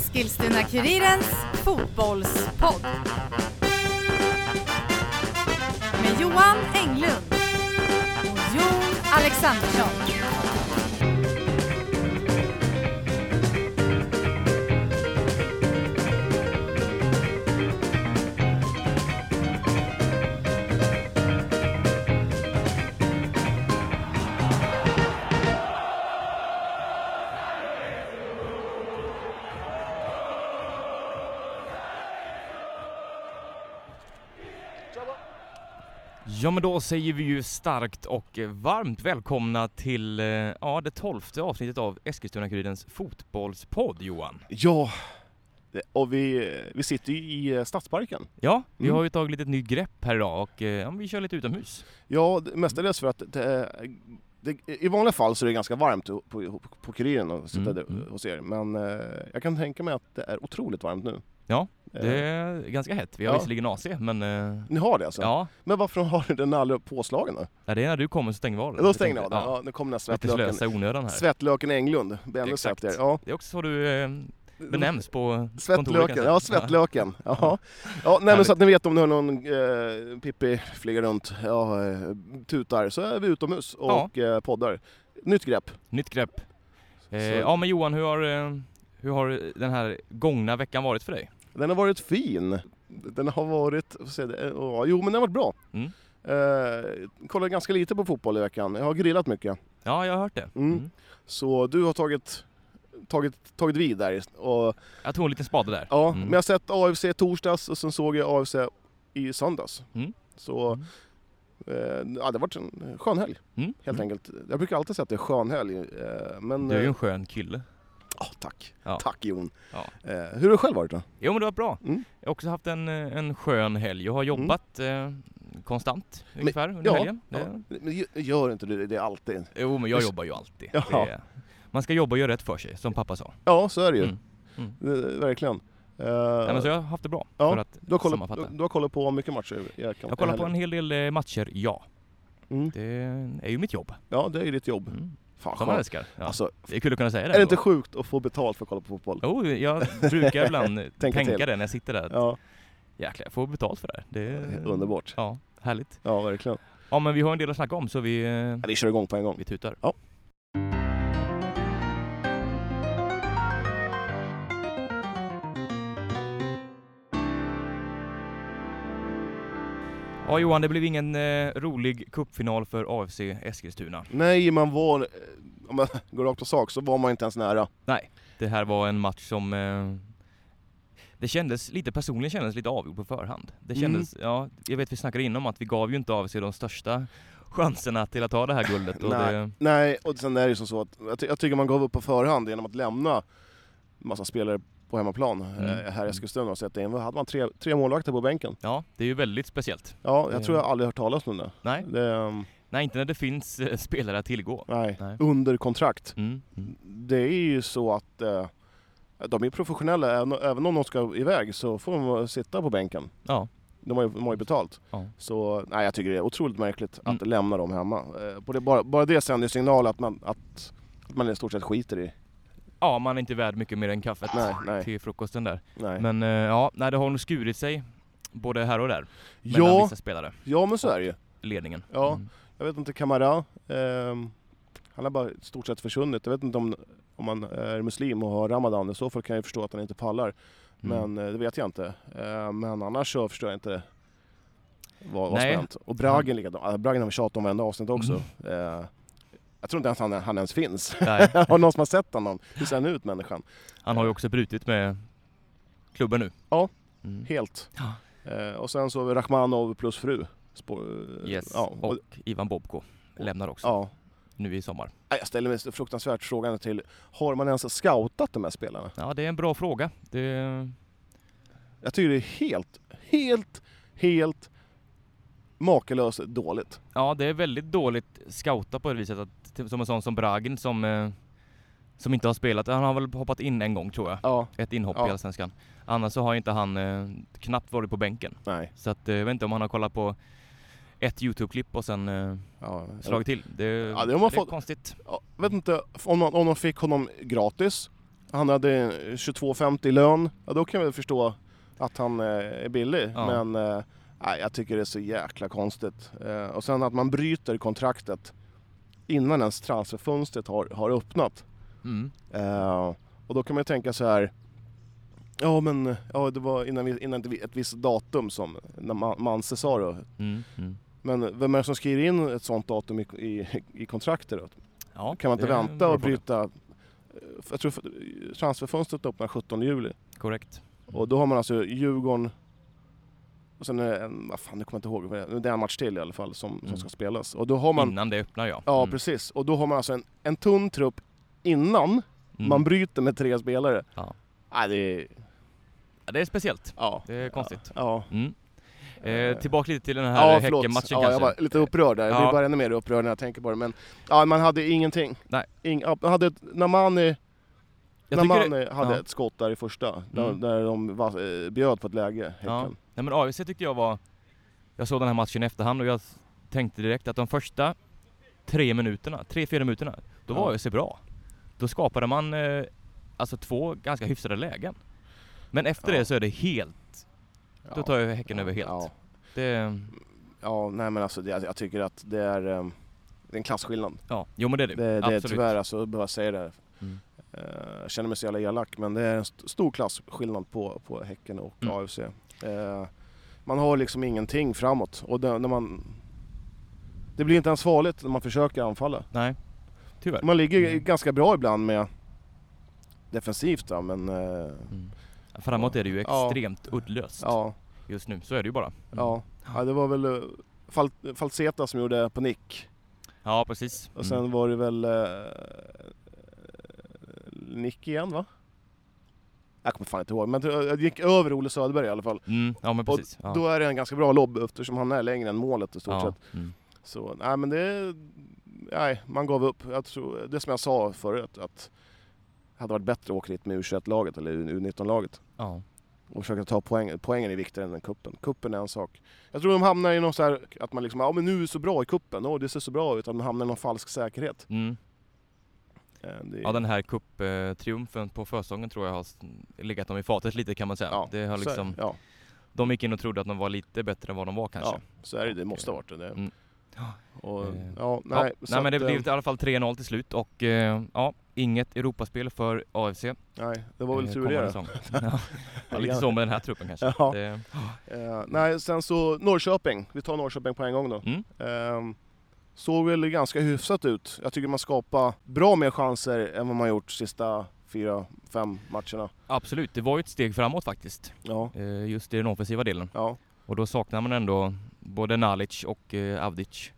Eskilstuna-Kurirens fotbollspodd. Med Johan Englund och Jon Alexandersson. Ja men då säger vi ju starkt och eh, varmt välkomna till eh, ja, det tolfte avsnittet av Eskilstuna-Kurirens fotbollspodd Johan. Ja, det- och vi, vi sitter ju i eh, Stadsparken. Ja, vi Mm. har ju tagit ett nytt grepp här idag och eh, ja, men vi kör lite utomhus. Ja, det- mestadels för att det, det, i vanliga fall så är det ganska varmt på, på, på Kuriren och sitta Mm, där mm. hos er. Men eh, jag kan tänka mig att det är otroligt varmt nu. Ja, Eh, Det är ganska hett. Vi har Ja. visserligen AC men eh, Ni har det alltså? ja, Men varför har ni den alla påslagen då? Ja, det är när du kommer så stänger vi av den. Då Vi stänger ni av tänkte- den. Ja. nu kommer den här Ja, lite svettlöken. slösa i onödan här. Svettlöken Englund. Benny Exakt. satt där. Ja. Det är också så du eh, benämns på kontoret Svettlöken, kanske. ja svettlöken. Ja. Ja. nej, men Härligt. så att ni vet om ni hör någon eh, Pippi flyga runt, ja, eh, tutar, så är vi utomhus och eh, poddar. Nytt grepp. Nytt grepp. Eh, Så- ja men Johan, hur har, eh, hur har den här gångna veckan varit för dig? Den har varit fin. Den har varit, vad säger det, eh, ja, jo men den har varit bra. Mm. Eh, kollade ganska lite på fotboll i veckan, jag har grillat mycket. Ja, jag har hört det. Mm. Så du har tagit, tagit, tagit vid där. Och, Jag tog en liten spade där. ja, Mm. Men jag har sett AFC i torsdags och sen såg jag AFC i söndags. Mm. Så Mm. Eh, ja, det har varit en skön helg Mm. helt enkelt. Jag brukar alltid säga att det är skön helg. Eh, men, Du är ju eh, en skön kille. ja, tack. Ja. Tack Jon. Ja. Eh, hur har det själv varit då? Jo men det var bra. Mm. Jag har också haft en, eh, en skön helg. Jag har jobbat eh, konstant ungefär under ja, helgen. Ja. Det- Men gö- gör inte du det, det är alltid. Jo men jag jobbar ju alltid. Ja. Det är- Man ska jobba och göra rätt för sig, som pappa sa. Ja, så är det ju. Mm. Mm. Det- verkligen. Eh, Nej, men så jag har haft det bra, ja, för att du, har kollat, sammanfatta. du, du har kollat på mycket matcher? Jag, kan, Jag kollar på en hel del eh, matcher, ja. Mm. Det är ju mitt jobb. Ja, det är ju ditt jobb. Mm. Fan, Som man skönt. älskar. Ja. Alltså, det är kul att kunna säga det. är det inte ändå. sjukt att få betalt för att kolla på fotboll? Jo, jag brukar ibland Tänka tänka till. det när jag sitter där. Ja, Jäklar, jag får betalt för det här. Det är... underbart. Ja, härligt. Ja, verkligen. Ja men vi har en del att snacka om så vi, eh, Ja, vi kör igång på en gång. vi tutar. Ja. Ja Johan, det blev ingen eh, rolig cupfinal för AFC Eskilstuna. Nej, man var... eh, Om man går rakt på sak så var man inte ens nära. Det här var en match som eh, det kändes lite, personligen kändes lite avgjord på förhand. Det Mm. kändes, ja, jag vet vi snackade innan om att vi gav ju inte AFC de största chanserna till att ta det här guldet. Och Nej. det, Nej, och sen är det ju som så att jag, ty- jag tycker man gav upp på förhand genom att lämna massa spelare på hemmaplan Mm. eh, här i Eskilstuna och sätta in, vad hade man, tre, tre målvakter på bänken? ja, det är ju väldigt speciellt. Ja, jag Det- tror jag aldrig hört talas om det. Nej, det ehm, nej inte när det finns eh, spelare att tillgå. nej. Nej. Under kontrakt. Mm. Mm. Det är ju så att eh, de är professionella, även, även om de ska iväg så får de sitta på bänken. Ja. De har ju, de har ju betalt. Ja. Så nej, jag tycker det är otroligt märkligt att Mm. lämna dem hemma. Eh, på det, bara, bara det sänder ju signal att man, att, att man i stort sett skiter i... ja, man är inte värd mycket mer än kaffet Nej, nej. till frukosten där. Nej. Men eh, ja, nej, det har nog skurit sig både här och där mellan ja, vissa spelare, ja, men så är det ju. ledningen. Ja. Mm. Jag vet inte, Kamara, ehm, han har bara i stort sett försvunnit. Jag vet inte om, om han är muslim och har Ramadan, i så fall kan jag ju förstå att han inte pallar. Mm. Men eh, det vet jag inte. Eh, men annars så förstår jag inte vad vad som Nej. Mm. hänt. Och Bragen likadant. Alltså, Bragen har vi tjatat om varenda avsnitt också. Eh, jag tror inte ens han, han ens finns. Nej, har någon som har sett honom? Hur ser han ut människan? han har ju också brutit med klubben nu. Ja. Mm. Helt. Ja. Eh, och sen så har vi Rachmanov plus fru. Spår- Yes, Ja, och, och Ivan Bobko lämnar också ja. nu i sommar. Nej, Jag ställer mig så fruktansvärt frågan till, har man ens scoutat de här spelarna? Ja, det är en bra fråga. Det... Jag tycker det är helt, helt, helt makalöst dåligt. Ja, det är väldigt dåligt scouta på det viset att t- som en sån som Bragen som, eh, som inte har spelat. Han har väl hoppat in en gång tror jag. Ja. Ett inhopp Ja. i Allsvenskan. Annars så har inte han eh, knappt varit på bänken. Nej. Så att, eh, jag vet inte om han har kollat på ett YouTube-klipp och sen eh, Ja, slagit till. Det, Ja, det det har man är fått- konstigt. Ja, vet inte om de, om de fick honom gratis. Han hade 22,50 i lön. Ja, då kan jag väl förstå att han eh, är billig. Ja. Men eh, nej, jag tycker det är så jäkla konstigt. Eh, och sen att man bryter kontraktet innan ens transferfönstret har, har öppnat. Mm. Eh, och då kan man ju tänka så här. Ja men ja, det var innan, vi, innan ett vi- ett visst datum som när man, Manse sa då. Mm. Mm. Men vem är det som skriver in ett sånt datum i, i, i kontraktet då? Ja, Kan man inte det är en vänta bra och fråga. bryta? eh, Jag tror transferfönstret öppnar 17 juli Korrekt. och då har man alltså Djurgården och sen är det en, vad fan, jag kommer inte ihåg, vad det är. det är en match till i alla fall som, Mm. som ska spelas. Och då har man, Innan det öppnar ja. ja Mm. precis, och då har man alltså en, en tunn trupp innan Mm. man bryter med tre spelare. Ja. Nej, det är, Ja, det är speciellt. ja. Det är konstigt. Ja. Mm. Eh, tillbaka lite till den här Ja, eh, förlåt. Häckenmatchen Ja, kanske. jag var lite upprörd där. Jag Ja. blir bara ännu mer upprörd när jag tänker på det. Men ja, man hade ingenting. Nej. Ing, ja, man hade, ett- när man eh, Jag när tycker man eh, hade ja. ett skott där i första, där, Mm. där de var, eh, bjöd på ett läge, Ja. Häcken. Nej men AFC tyckte jag var... Jag såg den här matchen i efterhand och jag tänkte direkt att de första tre minuterna, tre, fyra minuterna, då var Ja. AFC bra. Då skapade man eh, alltså två ganska hyfsade lägen. Men efter Ja. det så är det helt, Ja. då tar jag Häcken över helt. Ja. Det, ja, nej men alltså det, jag tycker att det är, eh, det är en klassskillnad. ja, jo men det är det, Det, det är absolut. tyvärr alltså, jag behöver säga det. Mm. Eh, Jag känner mig så jävla elak, men det är en st- stor klassskillnad på, på Häcken och Mm. AFC. Eh, Man har liksom ingenting framåt och det, när man... Det blir inte ens farligt när man försöker anfalla. Nej, tyvärr. Man ligger Mm. ganska bra ibland med defensivt då, men... eh, Mm. Framåt är det ju Ja. extremt uddlöst Ja, just nu, så är det ju bara. Mm. ja. ja, det var väl eh, Fal Falseta som gjorde på nick. ja precis. Och sen Mm. var det väl eh, Nick igen va? Jag kommer fan inte ihåg, men det det gick över Ole Söderberg i alla fall. Mm. Ja men och precis. Ja. Då är det en ganska bra lobb eftersom han är längre än målet i stort ja. sett. Mm. Så nej men det... Nej, man gav upp. Jag tror, det som jag sa förut, att det hade varit bättre att åka dit med U21-laget eller U19-laget ja. och försöka ta poäng. Poängen är viktigare än kuppen. Kuppen är en sak. Jag tror de hamnar i någon så här, att man liksom, ja men nu är vi så bra i kuppen, åh det ser så bra ut, att de hamnar i någon falsk säkerhet. Mm. Eh, Det, Ja den här cuptriumfen på försäsongen tror jag har s- legat dem i fatet lite kan man säga. Ja, det har så är liksom, det. ja, de gick in och trodde att de var lite bättre än vad de var kanske. ja, så är det. Det måste ha varit det. det. Mm. Ja. Och, Eh, ja, Ja, nej, så nej men det att, eh, blev i alla fall 3-0 till slut och eh, ja, inget Europaspel för AFC. Det Nej, det var Eh, väl tur det. då. ja, ja, lite så med den här truppen kanske. Ja. Det, Eh, nej, sen så Norrköping. Vi tar Norrköping på en gång då. mm, Ehm, såg väl ganska hyfsat ut. Jag tycker man skapar bra mer chanser än vad man gjort sista fyra, fem matcherna. absolut, det var ju ett steg framåt faktiskt. Ja, Eh, just i den offensiva delen. ja, Och då saknar man ändå både Nalic och eh, Avdic.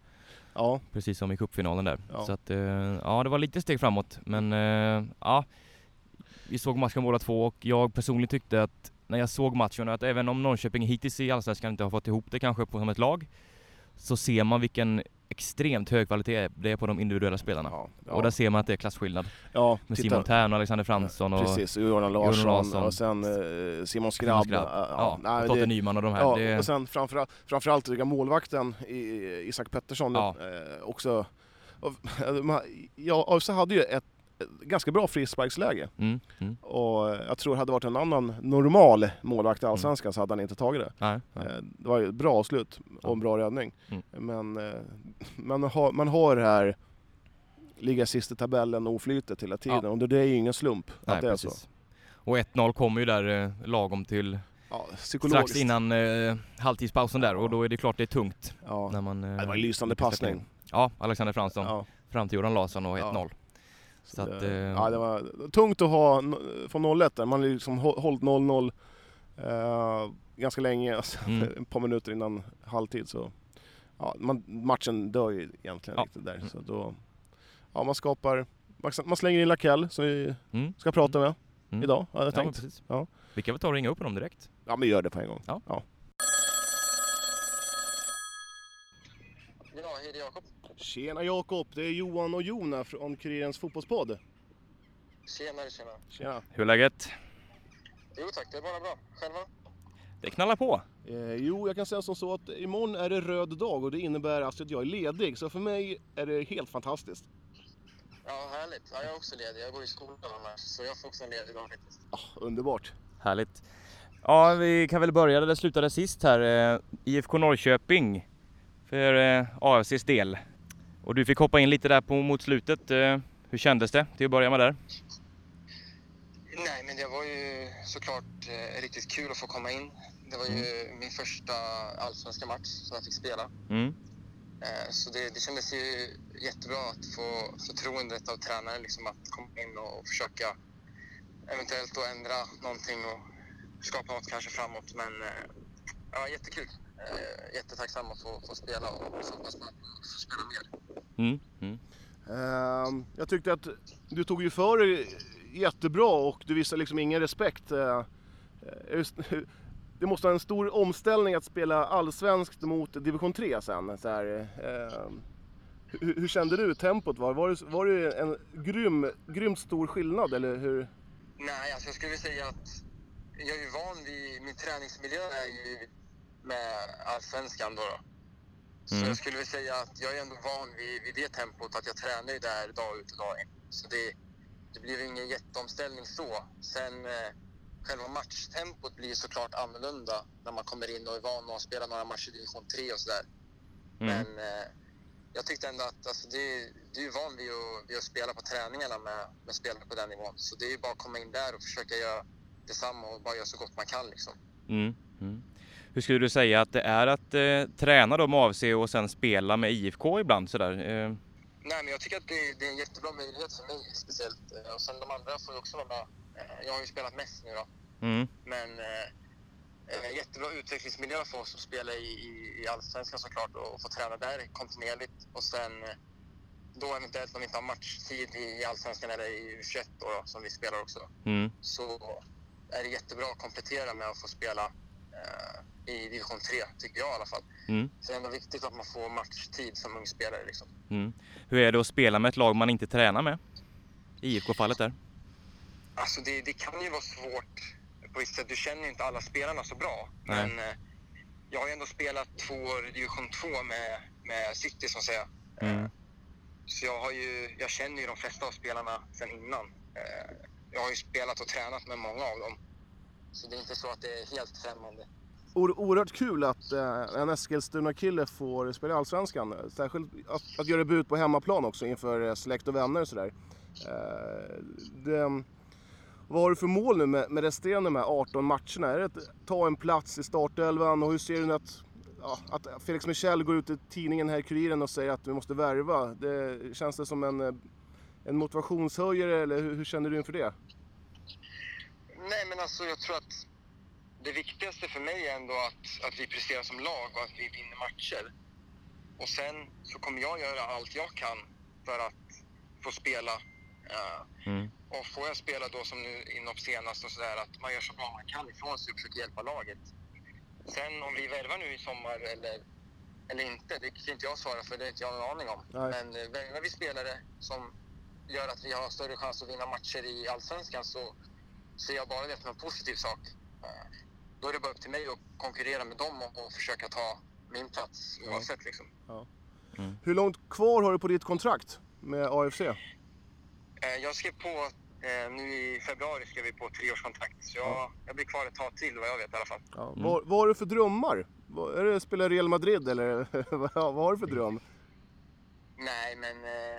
ja. Precis som i cupfinalen där. Ja. Så att, eh, ja det var lite steg framåt men eh, ja. Vi såg matchen båda två och jag personligen tyckte att när jag såg matchen att även om Norrköping hittills i Allsvenskan inte har fått ihop det kanske på- som ett lag. Så ser man vilken extremt hög kvalitet det är på de individuella spelarna. ja, Och där ja. ser man att det är klasskillnad. ja Med titta. Simon Tern och Alexander Fransson och Precis, Jordan Larsson, Jordan Larsson. och sen eh, Simon Skrabb. Skrabb. Ja, ja, nej, och det- Totte Nyman och de här. Ja, det, och sen framförallt, framförallt tycker jag målvakten i- i- Isak Pettersson Ja. eh, också. Och, man- ja, AFC hade ju ett, ett ganska bra frisparksläge mm, mm, och eh, jag tror hade det varit en annan normal Mm. målvakt i Allsvenskan så hade han inte tagit det. nej, nej. Eh, Det var ju ett bra avslut och en bra räddning. Mm. Men eh, man har, man har det här ligga sist i tabellen och oflytet hela tiden och det det är ju ingen slump nej att det är så. precis. Och 1-0 kommer ju där eh, lagom till Ja, strax psykologiskt. innan eh, halvtidspausen där och då är det klart det är tungt. Ja. När man, eh, Det var en lysande lyckas släppa in. passning. Ja, Alexander Fransson Ja. fram till Jordan Larsson och Ja. 1-0. Så att, det, eh, ja, det var tungt att ha n- från 01 där. Man har liksom hå- hållit 0-0 eh, ganska länge, alltså, Mm. ett par minuter innan halvtid. Så, ja, man, matchen dör ju egentligen Ja. lite där. Mm. Så då, ja, man skapar, man, man slänger in Lakell som vi Mm. ska prata med Mm. idag, hade jag Ja, men tänkt. precis. Ja. Vi kan väl ta och ringa upp honom direkt. Ja men gör det på en gång. Ja. Ja, hej det är Jakob. Tjena Jakob, det är Johan och Jona från Kurirens fotbollspodd. Tjenare, tjena. Tjena. Hur är läget? Jo tack, det är bara bra. Själva? Det knallar på. Eh, jo, jag kan säga som så att imorgon är det röd dag och det innebär alltså att jag är ledig. Så för mig är det helt fantastiskt. Ja, härligt. Ja, jag är också ledig. Jag går i skolan annars, så jag får också en ledig dag faktiskt. Ah, underbart. Härligt. Ja, vi kan väl börja där det slutade sist här. eh, IFK Norrköping för eh, AFCs del. Och du fick hoppa in lite där på, mot slutet. Eh, Hur kändes det till att börja med där? Nej, men det var ju såklart eh, riktigt kul att få komma in. Det var ju min första allsvenska match som jag fick spela. Mm. Eh, så det, det kändes ju jättebra att få förtroendet av tränaren liksom, att komma in och försöka eventuellt då ändra någonting och skapa något kanske framåt. Men eh, ja, jättekul. Eh, jättetacksam att få, få spela och så hoppas man får spela mer. Mm. Mm. Ehm, jag tyckte att du tog ju för dig jättebra och du visade liksom ingen respekt. Eh, just, det måste vara en stor omställning att spela allsvenskt mot division 3 sen. Så här, ehm, hur, hur kände du tempot? Var, var, det, var det en grym, grymt stor skillnad eller hur? Nej, alltså jag skulle vilja säga att jag är ju van vid, min träningsmiljö är ju med allsvenskan då. då. Så Mm. jag skulle vilja säga att jag är ändå van vid, vid det tempot, att jag tränar ju där dag ut och dag in. Så det, det blir ju ingen jätteomställning så. Sen eh, själva matchtempot blir ju såklart annorlunda när man kommer in och är van att spela några matcher i division 3 och sådär. Mm. Men eh, jag tyckte ändå att alltså, det, du är ju van vid att, vid att spela på träningarna med, med spelare på den nivån. Så det är ju bara att komma in där och försöka göra detsamma och bara göra så gott man kan. Liksom. Mm. Mm. Hur skulle du säga att det är att eh, träna då med AFC och sen spela med IFK ibland sådär? Eh, Nej, men jag tycker att det, det är en jättebra möjlighet för mig speciellt. Eh, Och sen de andra får ju också vara med. Eh, Jag har ju spelat mest nu då. mm. Men eh, eh, jättebra utvecklingsmiljö för oss som spelar i, i, i Allsvenskan såklart och få träna där kontinuerligt. Och sen eh, då eventuellt om vi inte har matchtid i i Allsvenskan eller i U21 då, då, som vi spelar också. Mm. så är det jättebra att komplettera med att få spela eh, i division 3, tycker jag i alla fall. Mm. Så det är ändå viktigt att man får matchtid som ung spelare. Liksom. Mm. Hur är det att spela med ett lag man inte tränar med? IFK-fallet där. Alltså det, det kan ju vara svårt på ett sätt. Du känner ju inte alla spelarna så bra. Nej. Men eh, jag har ju ändå spelat två år i division 2 med, med City, så att säga. Eh, Mm. Så jag, har ju, jag känner ju de flesta av spelarna sedan innan. Eh, jag har ju spelat och tränat med många av dem. Så det är inte så att det är helt främmande. O- oerhört kul att eh, en Eskilstuna-kille får spela i Allsvenskan. Särskilt att, att göra debut på hemmaplan också inför eh, släkt och vänner och sådär. Eh, det, vad har du för mål nu med, med resterande de här 18 matcherna? Är det att ta en plats i startelvan och hur ser du att, ja, att Felix Michel går ut i tidningen här, Kuriren, och säger att vi måste värva? Det, känns det som en, eh, en motivationshöjare eller hur, hur känner du inför det? Nej, men alltså jag tror att det viktigaste för mig är ändå att, att vi presterar som lag och att vi vinner matcher. Och sen så kommer jag göra allt jag kan för att få spela. eh, Mm. och får jag spela då som nu inhopp senast och sådär, att man gör så bra man kan ifrån sig och försöker hjälpa laget. Sen om vi värvar nu i sommar eller, eller inte, det kan inte jag svara för, det har inte jag någon aning om. Nej. Men eh, värvar vi spelare som gör att vi har större chans att vinna matcher i Allsvenskan så ser jag bara det som en positiv sak. Eh, Då är det bara upp till mig att konkurrera med dem och, och försöka ta min plats Ja. oavsett liksom. Hur långt kvar har du på ditt kontrakt med AFC? Eh, Jag skrev på eh, nu i februari skrev vi på treårskontrakt så jag, jag blir kvar ett tag till vad jag vet i alla fall. Ja, vad, vad har du för drömmar? Vad, är det att spela Real Madrid eller vad, vad har du för dröm? Nej, men eh,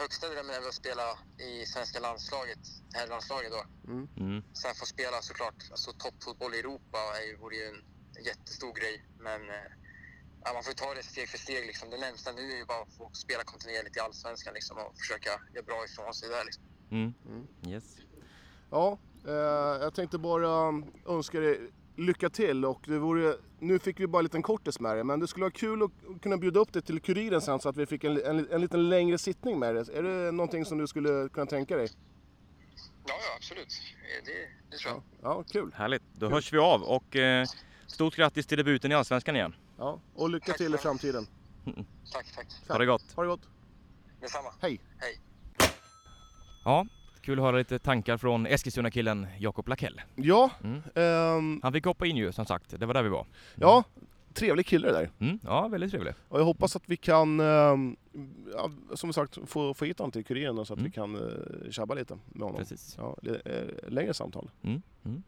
högsta drömmen är väl att spela i svenska landslaget, herrlandslaget då. Mm. Sen få spela såklart, alltså toppfotboll i Europa är ju, vore ju en jättestor grej. Men eh, ja, man får ju ta det steg för steg liksom. Det närmsta nu är ju bara att få spela kontinuerligt i Allsvenskan liksom och försöka göra bra ifrån sig där liksom. Mm. Yes. Ja, eh, jag tänkte bara önska dig lycka till och det vore, nu fick vi bara en liten kortis med dig, men det skulle vara kul att kunna bjuda upp dig till Kuriren sen så att vi fick en, en, en liten längre sittning med dig. Är det någonting som du skulle kunna tänka dig? Ja, ja absolut. Eh, Det, det tror jag. Ja, kul. Härligt. Då hörs vi av och eh, stort grattis till debuten i Allsvenskan igen. Ja, och lycka till i framtiden. Tack, tack. Ha det gott. Ha det gott. Detsamma. Hej. Hej. Ja, Kul att höra lite tankar från Eskilstuna-killen Jakob Lakell. Ja, Mm. ehm, Han fick hoppa in ju som sagt, det var där vi var. ja, trevlig kille det där. Mm. Ja, väldigt trevlig. Och jag hoppas att vi kan, ehm, ja, som sagt, få, få hit honom till Kuriren så att Mm. vi kan eh, tjabba lite med honom. Precis. Ja, li- eh, längre samtal. Mm. Mm.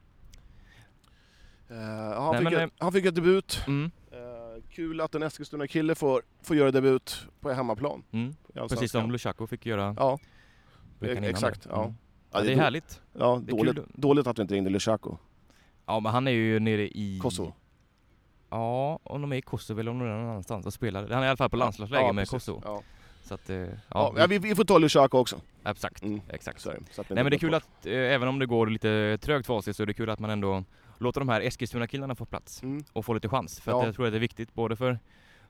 Eh, han, Nej, fick men, ett, han fick ett debut. Mm. Eh, kul att en Eskilstuna-kille får, får göra debut på hemmaplan. Mm. i Allsvenskan. Precis som Lushako fick göra Ja, veckan innan. exakt, där. ja. Mm. Ja, Ja, det är då- härligt. Ja, Det är dåligt, kul. dåligt att du inte ringde Lushako. Ja, men han är ju nere i... Kosovo. Ja, om de är i Kosovo eller om de är någon annanstans och spelar. Han är i alla fall på landslagsläger Ja, med precis. Kosovo. Ja. Så att, eh, ja, Ja, vi- vi, vi får ta Lushako också. exakt. Mm. exakt. Så är det, så att vi Nej men inte det är kul glömmer att, eh, även om det går lite trögt för sig så är det kul att man ändå låter de här Eskilstuna-killarna få plats bort. Mm. och få lite chans. För Ja. att jag tror att det är viktigt både för,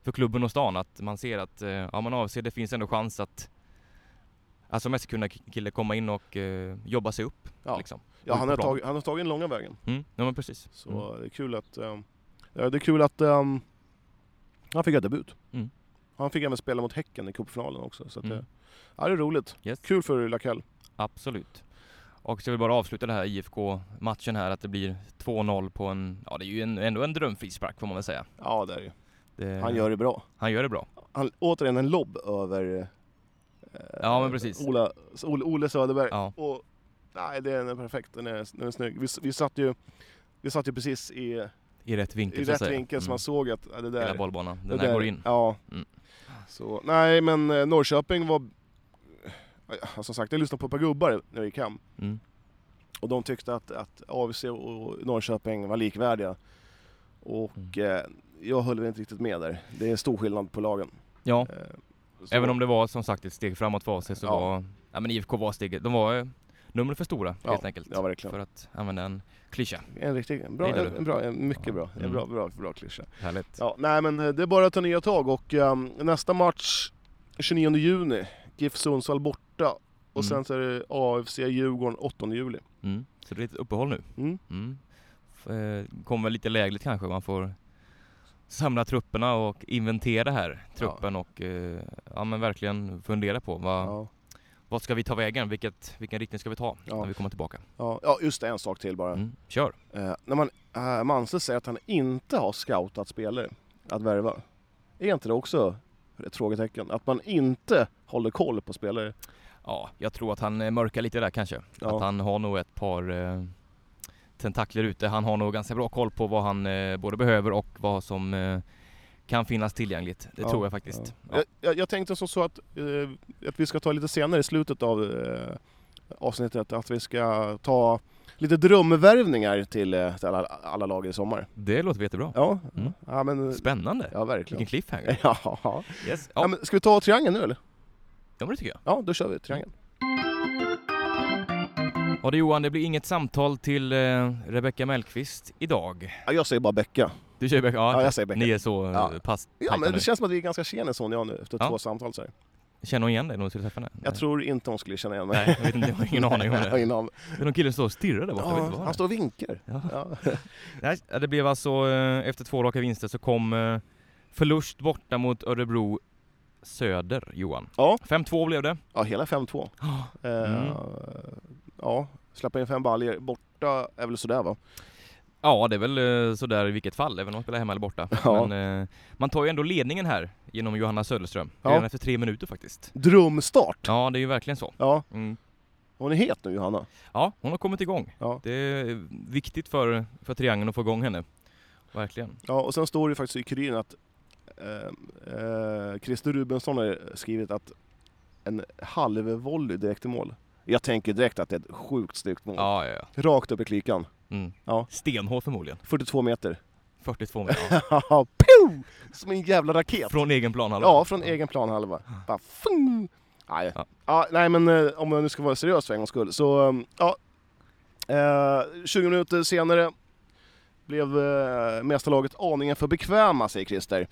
för klubben och stan att man ser att, eh, ja man avser, det finns ändå chans att Alltså som Eskilstuna-kille komma in och eh, jobba sig upp Ja. liksom. Ja, han, har På plan. tagit, han har tagit den långa vägen. Mm, ja men precis. Så Mm. det är kul att... ehm, ja, det är kul att ehm, han fick göra debut. Mm. Han fick även spela mot Häcken i cupfinalen också. Så att eh, Mm. det, ja, det är roligt. Yes. Kul för Lakell. Absolut. Och så vill jag bara avsluta den här IFK-matchen här, att det blir 2-0 på en, ja det är ju en, ändå en drömfrispark får man väl säga. Ja, det är det ju. Det, Han gör det bra. han gör det bra. Han, återigen en lobb över eh, Ja, men precis. Ola, Ole, Ole Söderberg. Ja. Och, nej, det är perfekt. Den är, den är snygg. Vi, s- vi, satt ju, vi satt ju precis i, I rätt vinkel i så att rätt säga. Mm. vinkel så man såg att ja, det där... Hela bollbanan. Den det där går in. Ja. Mm. Så, nej, men eh, Norrköping var... Ja, som sagt, jag lyssnade på ett par gubbar när vi gick hem. Mm. Och de tyckte att, att AVC och Norrköping var likvärdiga. Och Mm. eh, jag höll väl inte riktigt med där. Det är stor skillnad på lagen. Ja, Eh, så- även om det var som sagt ett steg framåt för sig så Ja. var, ja men IFK var steget, de var eh, numren för stora Ja, helt enkelt. Ja, verkligen. För att använda en klyscha. En riktig, en bra, Det gillar en, du. en bra, en mycket Ja. bra, en Mm. bra, bra, bra klyscha. Härligt. Ja, nej men eh, det är bara att ta nya tag och ehm, nästa match 29 juni, GIF Sundsvall borta. Och Mm. sen så är det AFC Djurgården 8 juli. Mm. Så det är ett uppehåll nu. Mm. F- eh, Kommer väl lite lägligt kanske, man får samla trupperna och inventera här truppen och eh, ja men verkligen fundera på vad, Ja. vad ska vi ta vägen, Vilket, vilken riktning ska vi ta Ja. när vi kommer tillbaka. Ja, ja, just det, en sak till bara. Mm. Kör! Eh, när man, eh, Manse säger att han inte har scoutat spelare att värva. Är inte det också ett frågetecken? Att man inte håller koll på spelare? Ja, jag tror att han eh, mörkar lite där kanske. Ja. Att han har nog ett par eh, tentakler ute. Han har nog ganska bra koll på vad han eh, både behöver och vad som eh, kan finnas tillgängligt. Det Ja, tror jag faktiskt. Ja. Jag, jag, jag tänkte som så att, eh, att vi ska ta lite senare i slutet av eh, avsnittet, att vi ska ta lite drömvärvningar till, eh, till alla, alla lag i sommar. Det låter jättebra. Ja, Mm. ja men... Spännande! Ja, verkligen. Vilken cliffhanger! Ja, ja. Yes. Ja, Ja, men ska vi ta triangeln nu eller? ja, men det tycker jag. Ja, då kör vi triangeln. Ja du Johan, det blir inget samtal till eh, Rebecka Mellqvist idag. Ja, jag säger bara Becka. Du kör Rebecka? Ja, jag säger Becka. Ni är så eh, Ja. pass Ja, tajta men nu. det känns som att vi är ganska tjenis hon och jag nu efter Ja. två samtal så här. Känner hon igen dig när hon skulle träffa henne? Jag tror inte hon skulle känna igen mig. Nej, jag vet inte. Jag har ingen aning om Jag har det. ingen aning. Det är någon kille som står och stirrar där borta. jag vet inte Ja, vad han står och vinkar. det är. Ja. Ja. Nej, det blev alltså eh, efter två raka vinster så kom eh, förlust borta mot Örebro Söder, Johan. Ja. 5-2 blev det. ja, hela 5-2. Eh, Mm. Ja, släppa in fem baljer. Borta är väl sådär va? Ja, det är väl eh, sådär i vilket fall, även om man spelar hemma eller borta. Ja. Men eh, man tar ju ändå ledningen här genom Johanna Söderström. Ja. Redan efter tre minuter faktiskt. Drömstart! Ja, det är ju verkligen så. Ja, Mm. hon är het nu Johanna. Ja, hon har kommit igång. Ja. Det är viktigt för, för triangeln att få igång henne. Verkligen. Ja, och sen står det faktiskt i Kuriren att eh, eh, Christer Rubensson har skrivit att en halvvolley direkt i mål. Jag tänker direkt att det är ett sjukt snyggt mål. Ja, ja, ja. Rakt upp i klykan. Mm. Ja. Stenhård förmodligen. 42 meter. 42 meter. Ja. Pew! Som en jävla raket. Från egen plan halva. Ja, från egen planhalva. Bara fung! Nej. Ja. Ja. nej, men eh, om jag nu ska vara seriös för en gångs skull så, eh, ja. Eh, 20 minuter senare blev eh, mästarlaget aningen för bekväma, säger Christer.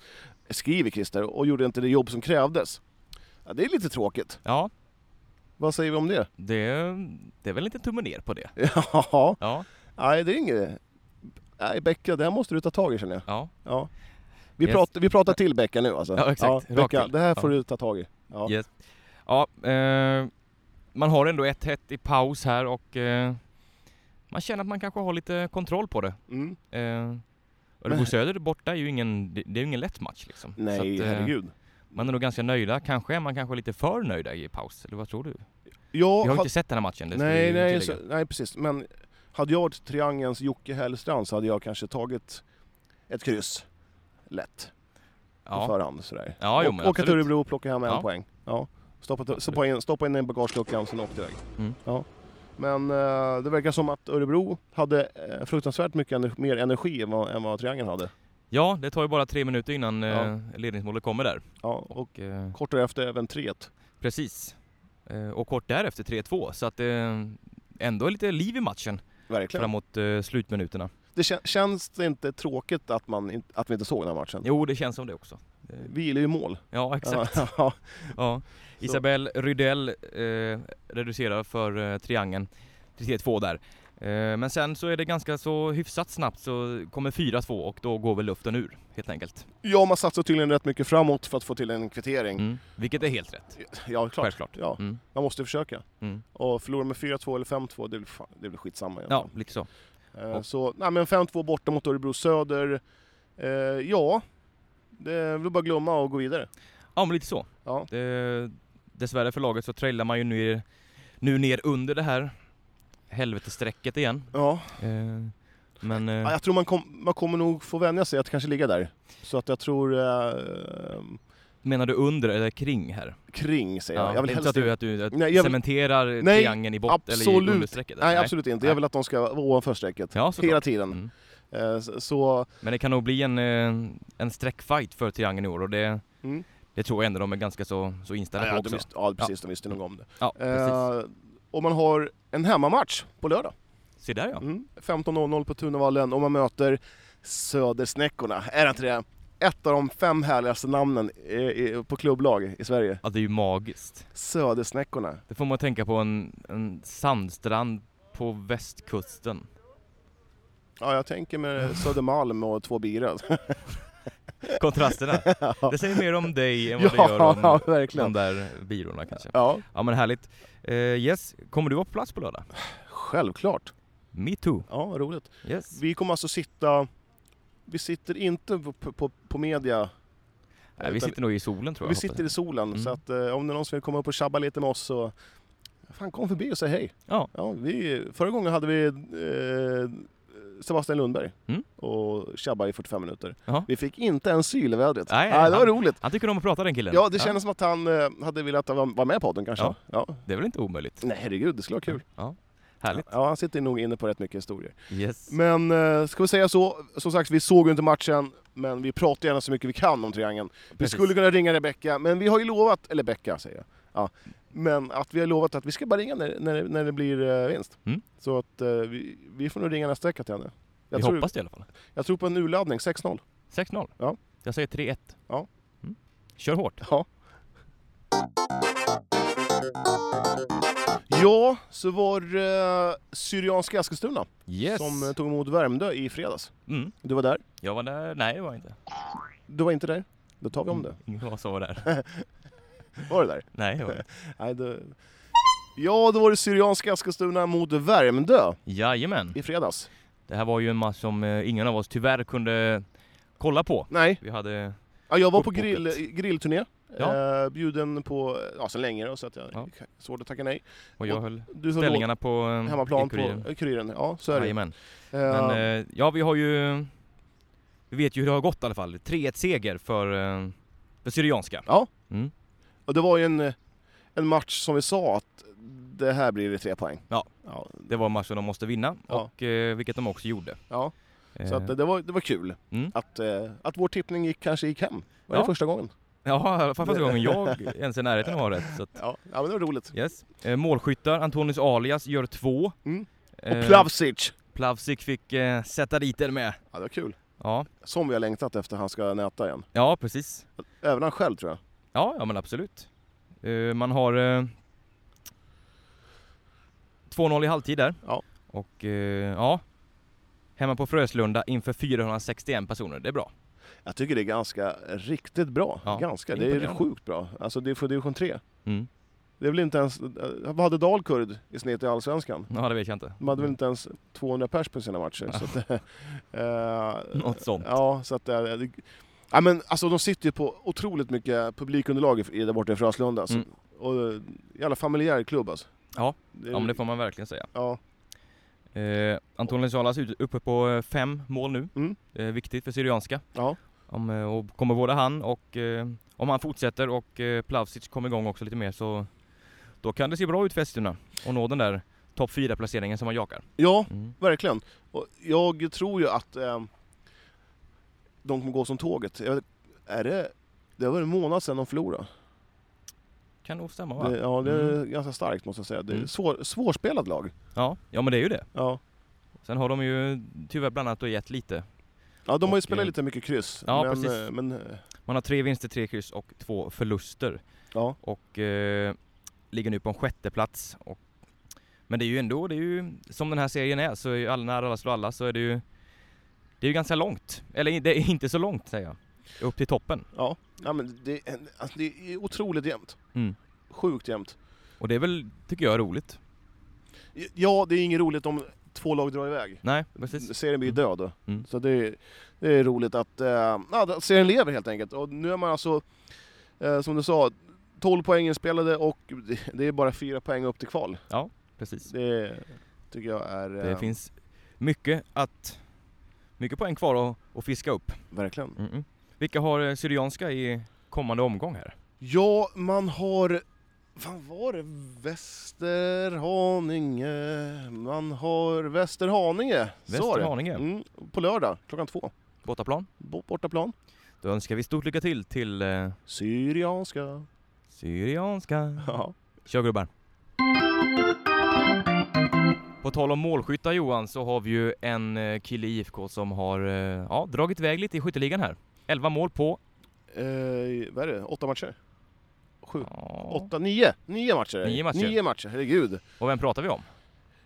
Skriver Christer, och gjorde inte det jobb som krävdes. Ja, det är lite tråkigt. Ja, Vad säger vi om det? Det, det är väl inte tumme ner på det. Ja, Ja, nej det är inget... Nej Becka, det här måste du ta tag i känner jag. ja. Ja. Vi, Yes. pratar, vi pratar till Becka nu alltså. Ja, exakt. Rakt Becka, till. det här får Ja. du ta tag i. Ja. Yes. ja eh, man har ändå 1-1 i paus här och eh, man känner att man kanske har lite kontroll på det. Mm. Eh, Men- Örebro Söder borta är ju ingen, det det är ju ingen lätt match liksom. Så Nej, att, eh, herregud. Man är nog ganska nöjda. Kanske är man kanske lite för nöjda i paus, eller vad tror du? Jag Vi har ju ha- inte sett den här matchen, det ska vi nej, ju nej, så, tillägga. nej, precis. Men hade jag varit Triangelns Jocke Hellstrand så hade jag kanske tagit ett kryss. Lätt. På Ja. förhand sådär. Ja, jo, och, men och att absolut. Örebro plockar hem en Ja. poäng. Ja. Stoppa, Absolut. stoppa, in, stoppa in den i bagageluckan sen åkte iväg. Mm. Ja. Men eh, det verkar som att Örebro hade eh, fruktansvärt mycket ener- mer energi än vad, än vad Triangeln hade. ja, det tar ju bara tre minuter innan Ja. eh, ledningsmålet kommer där. Ja, och Och, eh, kort därefter även 3-1. precis. Eh, och kort därefter 3-2, så att eh, ändå lite liv i matchen Verkligen. framåt eh, slutminuterna. Det kän, känns det inte tråkigt att, man, in- att vi inte såg den här matchen? Jo, det känns som det också. Eh, Vi gillar ju mål. Ja, exakt. Ja. Ja. Isabel Rydell eh, reducerar för eh, triangeln till 3-2 där. Eh, men sen så är det ganska så hyfsat snabbt så kommer 4-2 och då går väl luften ur helt enkelt. ja, man satsar tydligen rätt mycket framåt för att få till en kvittering. Mm. Vilket är helt rätt, Ja, klart. självklart. Ja, Mm. man måste försöka. Mm. Och förlora med 4-2 eller 5-2, det är väl fan- det är väl skitsamma egentligen. Ja, lite så. Eh, Och- Så, nej men 5-2 borta mot Örebro Söder. Eh, ja, det vill bara glömma och gå vidare. Ja, men lite så. Ja. Det, dessvärre för laget så trillar man ju ner, nu ner under det här helvetesträcket igen. Ja, Eh, men ja, eh, jag tror man, kom, man kommer nog få vänja sig att kanske ligga där. Så att jag tror eh, menar du under eller kring här? kring säger Ja, jag. Jag det vill är inte helst att du, att du att Nej, jag vill- cementerar Nej, triangeln i botten eller absolut. i understrecket? Nej, absolut inte. Nej. Jag vill att de ska vara ovanför strecket. Ja, Hela såklart. tiden. Mm. Eh, så- Så, Men det kan nog bli en, eh, en streckfight för triangeln i år och det, Mm. det tror jag ändå de är ganska så, så inställda ja, på de också. visste, ja, precis. De visste nog om det. Ja, precis. Eh, och man har en hemmamatch på lördag. Se där ja. Mm. 15.00 på Tunavallen och man möter Södersnäckorna. Är det inte det? Ett av de fem härligaste namnen i, i, på klubblag i Sverige. ja. Det är ju magiskt. Södersnäckorna. Det får man tänka på en, en sandstrand på västkusten. Ja, jag tänker med Södermalm och två bira. Kontrasterna. Det säger mer om dig än vad det gör om ja, de verkligen. där byråerna kanske. Ja, Ja men härligt. Eh, yes, kommer du vara på plats på lördag? självklart. Me too. Ja, roligt. Yes. Vi kommer alltså sitta... Vi sitter inte på, på, på media, Nej, Eh, vi utan- sitter nog i solen tror jag. vi hoppas jag. sitter i solen. Mm. Så att eh, om det är någon som vill komma upp och tjabba lite med oss så... Fan, kom förbi och säg hej. Ja, Ja, vi, förra gången hade vi eh, Sebastian Lundberg Mm. och tjabba i 45 minuter. Jaha. Vi fick inte en syl i vädret. Nej, det var han- roligt. han tycker om att prata den killen. Ja, det kändes som att han eh, hade velat vara vara med i podden kanske. Ja. Ja. Det är väl inte omöjligt? Nej, herregud, det skulle vara Mm, kul. Ja, härligt. Ja, han sitter nog inne på rätt mycket historier. Yes. Men eh, ska vi säga så, som sagt, vi såg ju inte matchen, men vi pratar gärna så mycket vi kan om triangeln. Vi Precis. skulle kunna ringa Rebecka, men vi har ju lovat, eller Becka säger jag, ja, men att vi har lovat att vi ska bara ringa när, när, när det blir eh, vinst. Mm. Så att eh, vi, vi får nog ringa nästa vecka till henne. Jag, vi tror, hoppas det i alla fall. jag tror på en urladdning, 6-0. 6-0. Ja. Jag säger 3-1. Ja. Mm. Kör hårt. Ja. Ja, så var eh, Syrianska Eskilstuna Yes. som eh, tog emot Värmdö i fredags. Mm. Du var där? Jag var där. Nej, det var jag inte. Du var inte där? Då tar vi om det. Ingen var så var där. Var du där? Nej, det var jag inte. Nej, det... Ja, då var det Syrianska Eskilstuna mot Värmdö Jajamän. i fredags. Det här var ju en match som eh, ingen av oss tyvärr kunde eh, kolla på. Nej, Vi hade... ja, jag var på Kortpocket. grill, grillturné. Ja. Eh, bjuden på, ja sen länge då, så att jag Ja. svårt att tacka nej. Och jag Och höll Du höll ställningarna på eh, låg hemmaplan i Kuriren. på eh, Kuriren. Ja, så är det. Jajamän. Eh, Men eh, ja, vi har ju... Vi vet ju hur det har gått i alla fall. 3-1-seger för, eh, för Syrianska. Ja. Mm. Och det var ju en, en match som vi sa att det här blir det tre poäng. Ja. Ja, Det var matchen de måste vinna, Ja. och, eh, vilket de också gjorde. ja. så Eh, att det, det, var, det var kul Mm. att, eh, att vår tippning gick, kanske gick hem. Var Ja. det första gången? Ja, i alla fall första gången jag ens är i närheten av att ha rätt. Så att, Ja, ja men det var roligt. yes. eh, målskyttar, Antonius Alias gör två. Mm. Eh, Och Plavsic! Plavsic fick eh, sätta dit den med. Ja, det var kul. Ja, Som vi har längtat efter han ska näta igen. ja precis. Även han själv tror jag. Ja, ja men absolut. Eh, man har eh, 2-0 i halvtid där. Ja. Och eh, ja, hemma på Fröslunda inför 461 personer. Det är bra. Jag tycker det är ganska riktigt bra. Ja, ganska, det är imponerande. sjukt bra. Alltså det är för division 3. Mm. Det är väl inte ens... eh, Vad hade Dalkurd i snitt i Allsvenskan? Ja, det vet jag inte. De hade väl inte ens 200 pers på sina matcher. Så att, eh, Något sånt. Ja, så att... eh, det- Ja, men alltså de sitter ju på otroligt mycket publikunderlag i- i- där borta i Fröslunda. Alltså. Mm. Och eh, jävla familjär klubb alltså. Ja. Det är- Ja, men det får man verkligen säga. ja. Eh, Antonio Salas är uppe på eh, fem mål nu. Mm. Eh, viktigt för Syrianska. Ja. Om, eh, och kommer både han och eh, om han fortsätter och eh, Plavsic kommer igång också lite mer så då kan det se bra ut för Eskilstuna och nå den där topp 4 placeringen som man jakar. ja, Mm. verkligen. Och jag tror ju att eh, de kommer gå som tåget. Jag, vet- är det... Det var en månad sedan de förlorade. Kan nog stämma va? Det, ja, det är Mm. ganska starkt måste jag säga. Det är Mm. svår, svårspelat lag. Ja, ja men det är ju det. Ja. Sen har de ju tyvärr bland annat då gett lite. Ja, de har ju Och, spelat eh, lite mycket kryss. ja, men, precis. eh, men eh, Man har tre vinster, tre kryss och två förluster. ja, Och eh, ligger nu på en sjätte plats. Och, men det är ju ändå, det är ju som den här serien är, så är ju alla, när alla slår alla så är det ju Det är ju ganska långt. Eller det är inte så långt säger jag. Upp till toppen. ja. ja men det, är en- alltså, det är otroligt jämnt. Mm. Sjukt jämnt. Och det är väl, tycker jag, roligt. Ja, det är inget roligt om två lag drar iväg. Nej, precis. Serien blir ju död då. Mm. Så det är, det är roligt att eh, ja, att serien lever helt enkelt. Och nu är man alltså, eh, som du sa, 12 poäng inspelade och det- det är bara fyra poäng upp till kval. precis. Det tycker jag är... Det eh, finns mycket att... Mycket poäng kvar att, att fiska upp. Verkligen. Mm-mm. Vilka har eh, Syrianska i kommande omgång här? Ja, man har... Vad var det? Västerhaninge. Man har Västerhaninge. Så var det. Västerhaninge. Mm, på lördag klockan två. Bortaplan? Bo- Bortaplan. Då önskar vi stort lycka till till eh, Syrianska. Syrianska. Ja. Kör gubbar! På tal om målskyttar Johan så har vi ju en eh, kille i IFK som har eh, ja, dragit iväg lite i skytteligan här. 11 mål på... Eh, vad är det? Åtta matcher? Sju? Ja. Åtta? Nio? Nio matcher. Nio matcher. Nio matcher, herregud. Och vem pratar vi om?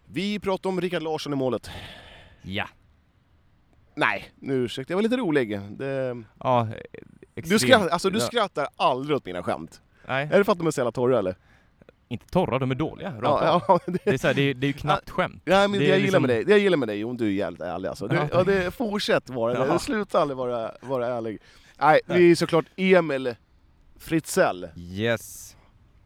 Vi pratar om Rickard Larsson i målet. Ja! Nej, nu ursäkta. Jag var lite rolig. Det... Ja, eh, Du, extremt- skrattar, alltså, du Ja, skrattar aldrig åt mina skämt. Nej, Är det för att de är så jävla torra eller? inte torra, de är dåliga. Rakt av. Ja, ja, det... Det, är så här, det, är, det är ju knappt skämt. Ja, men det, Det är jag gillar liksom- med dig, det jag gillar med dig, Jon, du är jävligt ärlig alltså. Du, Ja, ja, tack. det, fortsätt vara det, Ja. sluta aldrig vara, vara ärlig. Nej, det är såklart Emil Fritzell. Yes.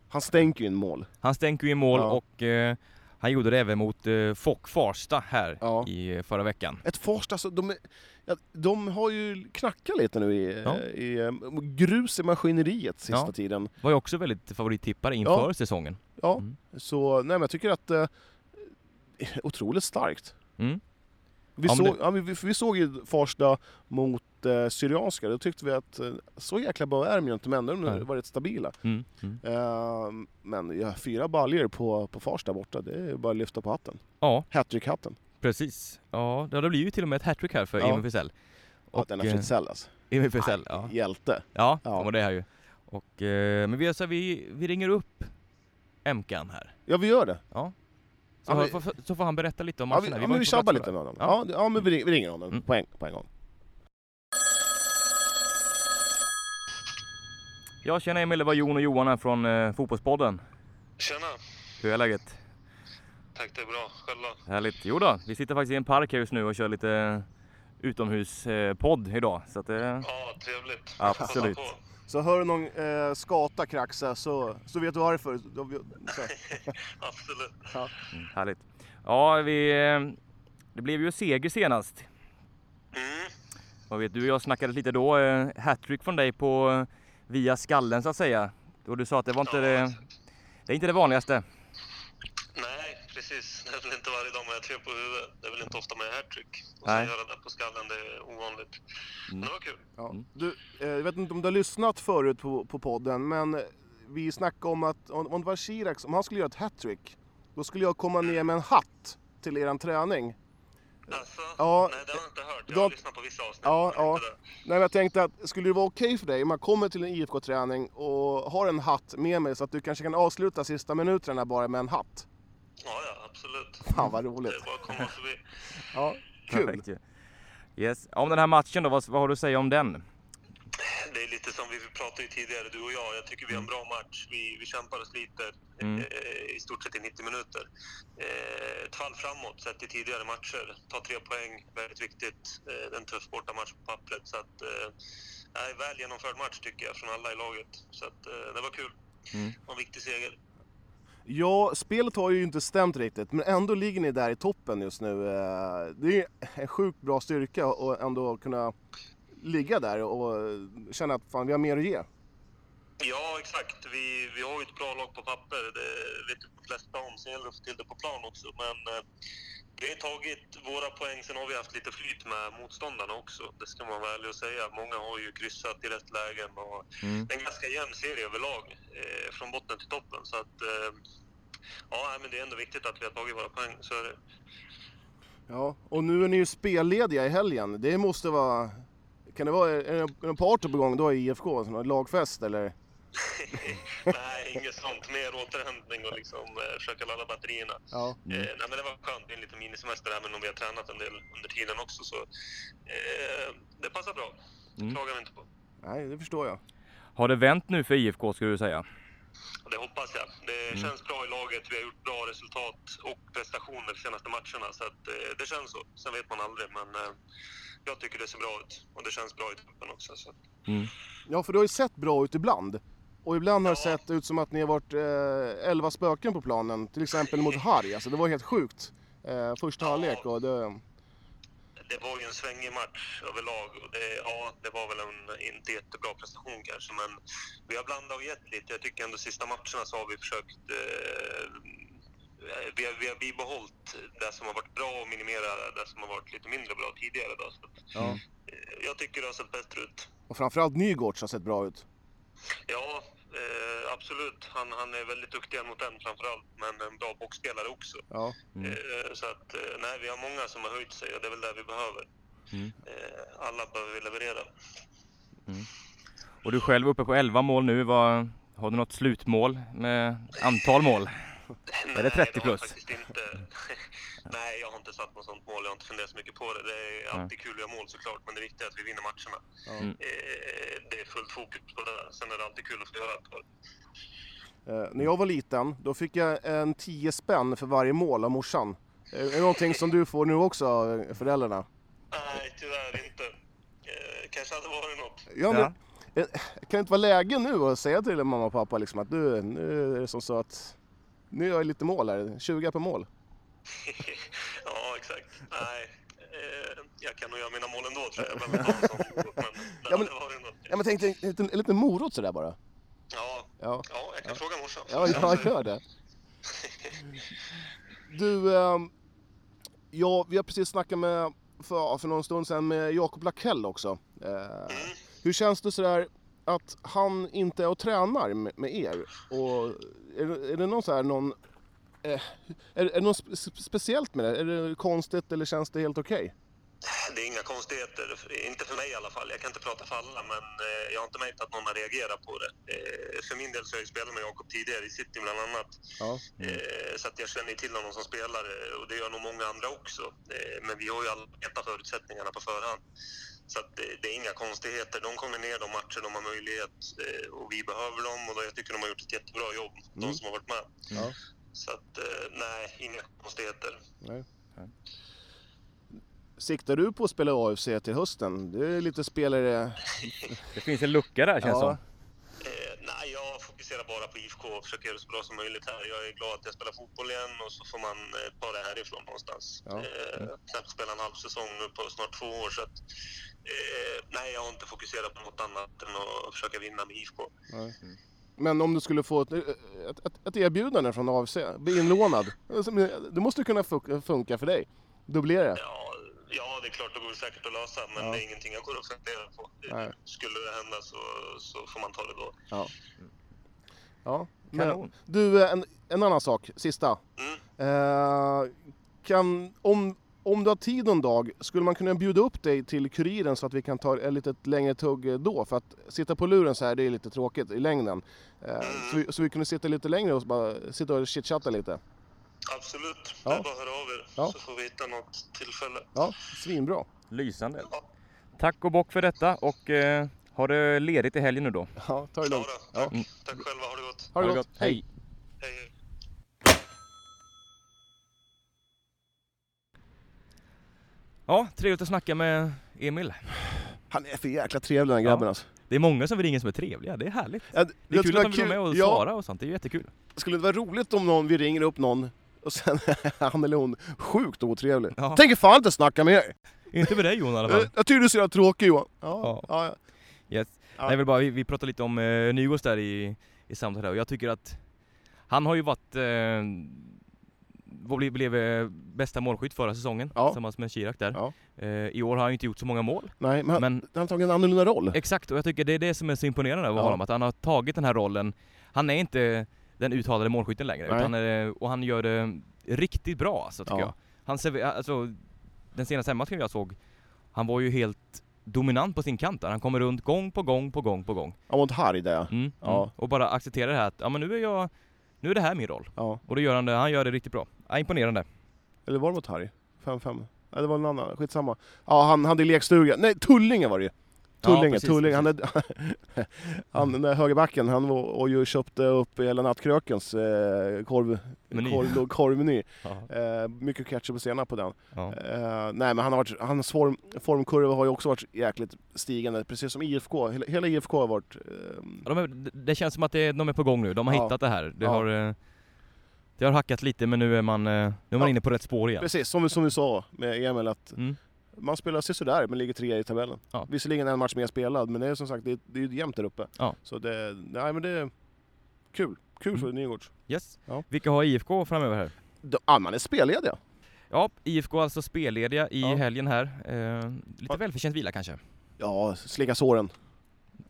Han stänker ju in mål. Han stänker ju i mål Ja. och eh, han gjorde det även mot eh, Fock Farsta här Ja. i eh, förra veckan. Ett Farsta, alltså, de, är- ja, de har ju knackat lite nu i, Ja. i eh, grus i maskineriet sista Ja. tiden. Var ju också väldigt favorittippare inför säsongen. Ja, Mm. så nej men jag tycker att... Eh, otroligt starkt. Mm. Vi, Ja, men såg, ja, men vi, vi såg ju Farsta mot eh, Syrianska, då tyckte vi att eh, så jäkla bra är de ju inte, men de har Nej. varit stabila. Mm. Mm. Ehm, men ja, fyra baljer på, på Farsta borta, det är bara att lyfta på hatten. Ja, Hattrick-hatten. precis. Ja, det blir ju till och med ett hattrick här för Ja. Emil Frisell. Ja, denna eh, Fritzell alltså. Emil Frisell, ja. Hjälte. Ja, Ja. ja. det är han ju. Och, eh, men vi, gör så här, vi, vi ringer upp Emkan här. Ja, vi gör det. Så, Ja, men- får- får- så får han berätta lite om Ja, matchen. vi, här. ja, var men inte på vi plats för tjabbar lite det. med honom. Ja. Ja, det- ja men vi ringer, vi ringer honom Mm. på, en, på en gång. Jag känner Emil, det var Jon och Johan här från eh, Fotbollspodden. Tjena! Hur är läget? Tack, det är bra. Själv då? Härligt. Jo då, vi sitter faktiskt i en park här just nu och kör lite utomhuspodd idag. Så att, eh, Ja, trevligt. Absolut. Passa på. Så hör du någon eh, skata kraxa så, så vet du varför. Då- Så, Absolut. härligt. Ja, vi, eh, det blev ju seger senast. Mm. Vad vet du och jag snackade lite då. eh, Hattrick från dig på eh, via skallen så att säga. Och du sa att det var inte Ja, det, exakt. det är inte det vanligaste. Nej, precis. Det är väl inte varje dag man gör tre på huvudet. Det är väl inte ofta man gör hattrick. Och Nej. sen göra det på skallen, det är ovanligt. Men det var kul. ja. du, eh, jag vet inte om du har lyssnat förut på, på podden, men vi snackade om att om, om det var Chirac, om han skulle göra ett hattrick, då skulle jag komma ner med en hatt till eran träning. Alltså, Ja, nej, det har jag inte hört. Jag då- har lyssnat på vissa avsnitt. Ja, men ja. inte det. Nej, men jag tänkte att skulle det vara okej för dig om jag kommer till en IFK-träning och har en hatt med mig så att du kanske kan avsluta sista minuterna bara med en hatt? ja, ja, absolut. Fan vad Det är roligt! bara att komma förbi. Ja, kul! Perfekt ju. Yes. Om den här matchen då, vad, vad har du att säga om den? Det är lite som vi pratade ju tidigare, du och jag. Jag tycker vi har en bra match. Vi, vi kämpar och sliter Mm. eh, i stort sett i 90 minuter. Eh, ett fall framåt sett till tidigare matcher. Ta tre poäng, väldigt viktigt. Eh, det är en tuff bortamatch på pappret. Så att, eh, nej, väl genomförd match tycker jag från alla i laget. Så att, eh, det var kul. Mm. Och en viktig seger. Ja, spelet har ju inte stämt riktigt, men ändå ligger ni där i toppen just nu. Eh, Det är ju en sjukt bra styrka att ändå kunna ligga där och eh, känna att fan, vi har mer att ge. Ja, exakt. Vi, vi har ju ett bra lag på papper. Det vet ju de flesta om. Sen gäller det att få till det på plan också. Men eh, vi har ju tagit våra poäng. Sen har vi haft lite flyt med motståndarna också. Det ska man vara ärlig och säga. Många har ju kryssat i rätt lägen. Och Mm. Det är en ganska jämn serie överlag. Eh, från botten till toppen. Så att, eh, ja, nej, men det är ändå viktigt att vi har tagit våra poäng. Så är det. Ja, och nu är ni ju spellediga i helgen. Det måste vara... Kan det vara är det en- en party på gång då i IFK? Sån här Lagfest eller? nej, inget sånt. Mer återhämtning och liksom, eh, försöka ladda batterierna. Ja. Eh, nej, men det var skönt, det är en liten minisemester även om vi har tränat en del under tiden också. Så, eh, det passar bra, det Mm. klagar vi inte på. Nej, det förstår jag. Har det vänt nu för IFK skulle du säga? Och Det hoppas jag. Det känns bra i laget, vi har gjort bra resultat och prestationer de senaste matcherna. Så att, eh, det känns så. Sen vet man aldrig, men eh, jag tycker det ser bra ut. Och det känns bra i toppen också. Så. att- Ja, för det har ju sett bra ut ibland. Och ibland har det Ja. sett ut som att ni har varit eh, elva spöken på planen. Till exempel mot Harry. Alltså, det var helt sjukt. Eh, första Ja. halvlek och det... Det var ju en svängig match överlag. Och det, ja, det var väl en inte jättebra prestation kanske, men vi har blandat och gett lite. Jag tycker ändå sista matcherna så har vi försökt... Eh, vi, har, vi har bibehållit det som har varit bra och minimerat det som har varit lite mindre bra tidigare. Då. Så, att, Ja. eh, jag tycker det har sett bättre ut. Och framförallt Nygårds har sett bra ut. Ja, eh, absolut. Han, han är väldigt duktig mot den framförallt, men en bra boxspelare också. Ja. Mm. Eh, Så att, eh, nej, vi har många som har höjt sig och det är väl det vi behöver. Mm. Eh, Alla behöver vi leverera. Och du själv är uppe på 11 mål nu. Vad, har du något slutmål med antal mål? Nej, Är det 30 har jag plus? faktiskt inte. nej, jag har inte satt något sånt mål. Jag har inte funderat så mycket på det. Det är alltid kul att göra mål såklart, men det viktiga är att vi vinner matcherna. Ja. Mm. Eh, Det är fullt fokus på det. Sen är det alltid kul att få göra ett mål. Eh, när jag var liten, då fick jag en 10 spänn för varje mål av morsan. Eh, Är det någonting som du får nu också av föräldrarna? Nej, tyvärr inte. Eh, Kanske hade varit något. Ja, men, eh, Kan det inte vara läge nu att säga till mamma och pappa liksom att du, nu är det som så att nu gör jag lite mål här, 20 per mål. ja, exakt. Nej, eh, jag kan nog göra mina mål ändå tror jag. Jag behöver inte ha en sån. Men det Ja, men- hade varit något. Ja, men tänk dig en liten, en liten morot sådär bara. Ja, Ja, ja jag kan fråga morsan. ja jag gör det. Du, ehm, ja, vi har precis snackat med, för, för någon stund sedan med Jakob Lackell också. Eh, hur känns det sådär att han inte är och tränar med, med er? Och är, det- är det någon så här, någon, eh, är, är det något spe, spe- speciellt med det? Är det konstigt eller känns det helt okej? Det är inga konstigheter, inte för mig i alla fall. Jag kan inte prata för alla, men eh, jag har inte märkt att någon har reagerat på det. Eh, För min del så har jag ju spelat med Jakob tidigare i city bland annat. Ja. Eh, Så att jag känner ju till honom som spelare och det gör nog många andra också. Eh, Men vi har ju alla vetat förutsättningarna på förhand. Så att eh, det, det är inga konstigheter. De kommer ner de matcher de har möjlighet eh, och vi behöver dem och jag tycker de har gjort ett jättebra jobb, de som har varit med. Ja. Så att eh, nej, inga konstigheter. Nej. Siktar du på att spela AFC till hösten? Du är lite spelare... Det finns en lucka där känns Ja. som. Eh, nej, jag fokuserar bara på IFK och försöker göra det så bra som möjligt här. Jag är glad att jag spelar fotboll igen och så får man eh, ta det härifrån någonstans. Ja. Mm. Eh, knappt spelat en halv säsong nu på snart två år. Så att, eh, nej, jag har inte fokuserat på något annat än att försöka vinna med IFK. Men om du skulle få ett, eh, ett, ett, ett erbjudande från AFC, bli inlånad. eh, Det måste kunna fu- funka för dig. Dubblera. Ja, ja, det är klart, det går säkert att lösa, men Ja. det är ingenting jag går och funderar på. Nej. Skulle det hända så, så får man ta det då. Ja. ja. Kanon. Men, du, eh, en, en annan sak, sista. Mm. Eh, kan, om, om du har tid någon dag, skulle man kunna bjuda upp dig till Kuriren så att vi kan ta ett litet längre tugg eh, då? För att sitta på luren så här, det är lite tråkigt i längden. Eh, så, vi, så vi kunde sitta lite längre och bara sitta och chitchatta lite. Absolut, Ja. det är bara att höra av er Ja. Mm. så får vi hitta något tillfälle. Ja, svinbra. Lysande. Ja. Tack och bock för detta och eh, Ha det ledigt i helgen nu då. Ja, ta det Ja, lugnt. då, Ja. tack. tack själva, ha det gott. Mm, Ha det gott. Hej. Hej, hej. Ja, trevligt att snacka med Emil. Han är för jäkla trevlig den här grabben Ja. alltså. Det är många som vi ringer som är trevliga, det är härligt. Ja, det Det är kul att de vill vara kul- med och ja, svara och sånt, det är jättekul. Skulle det vara roligt om någon, vi ringer upp någon och sen är han eller hon sjukt otrevlig. Ja. Tänker fan inte snacka med er! Eh, Inte med dig Jon i alla fall. Jag, jag tycker du är så jävla tråkig Johan. Ja, Ja. ja. ja. Yes. Ja. Nej, jag vill bara, vi, vi pratade lite om eh, Nygårds där i, i samtalet och jag tycker att han har ju varit, eh, vad blev, blev eh, bästa målskytt förra säsongen Ja. tillsammans med Kirak där. Ja. Eh, I år har han ju inte gjort så många mål. Nej, men han, Men han har tagit en annorlunda roll. Exakt, och jag tycker det är det som är så imponerande över Ja. honom, att han har tagit den här rollen. Han är inte den uttalade målskytten längre, Nej. utan, eh, och han gör det riktigt bra alltså, tycker Ja. jag. Han server, alltså, den senaste hemmamatchen jag såg, han var ju helt dominant på sin kant där. Han kommer runt gång på gång på gång på gång. Han var inte arg där. Mm, Ja. mm. Och bara accepterar det här att, ja men nu är jag, nu är det här min roll. Ja. Och då gör han det, han gör det riktigt bra. Ja, imponerande. Eller var det mot Harry? 5-5? Nej, det var någon annan. Skitsamma. Ja, han hade i lekstuga. Nej, Tullinge var det ju. Tullinge, precis, Tullinge. Han, är, han den där högerbacken, han var och ju köpte upp hela nattkrökens eh, korv, Meny. korv, korvmeny. Ja. Eh, mycket ketchup och senap på den. Ja. Eh, nej men han har varit, hans form, formkurva har ju också varit jäkligt stigande, precis som IFK. Hela, hela IFK har varit... ehm, Ja, de är, det- det känns som att det, de är på gång nu, de har Ja. hittat det här. Det, Ja. har, eh, det har hackat lite men nu är man, eh, nu är man Ja. inne på rätt spår igen. Precis, som, vi- som vi sa med Emil att Mm. man spelar sig sådär men ligger trea i tabellen. Ja. Visserligen en match mer spelad men det är som sagt det är, det är ju jämnt där uppe. Ja. Mm. Så det, nej men det är kul. Kul för Nygårds. Yes. Ja. Vilka har IFK framöver här? De- Ja, man är spellediga. Ja, IFK alltså spellediga i Ja. helgen här. Eh, lite Ja. välförtjänt vila kanske? Ja, slicka såren.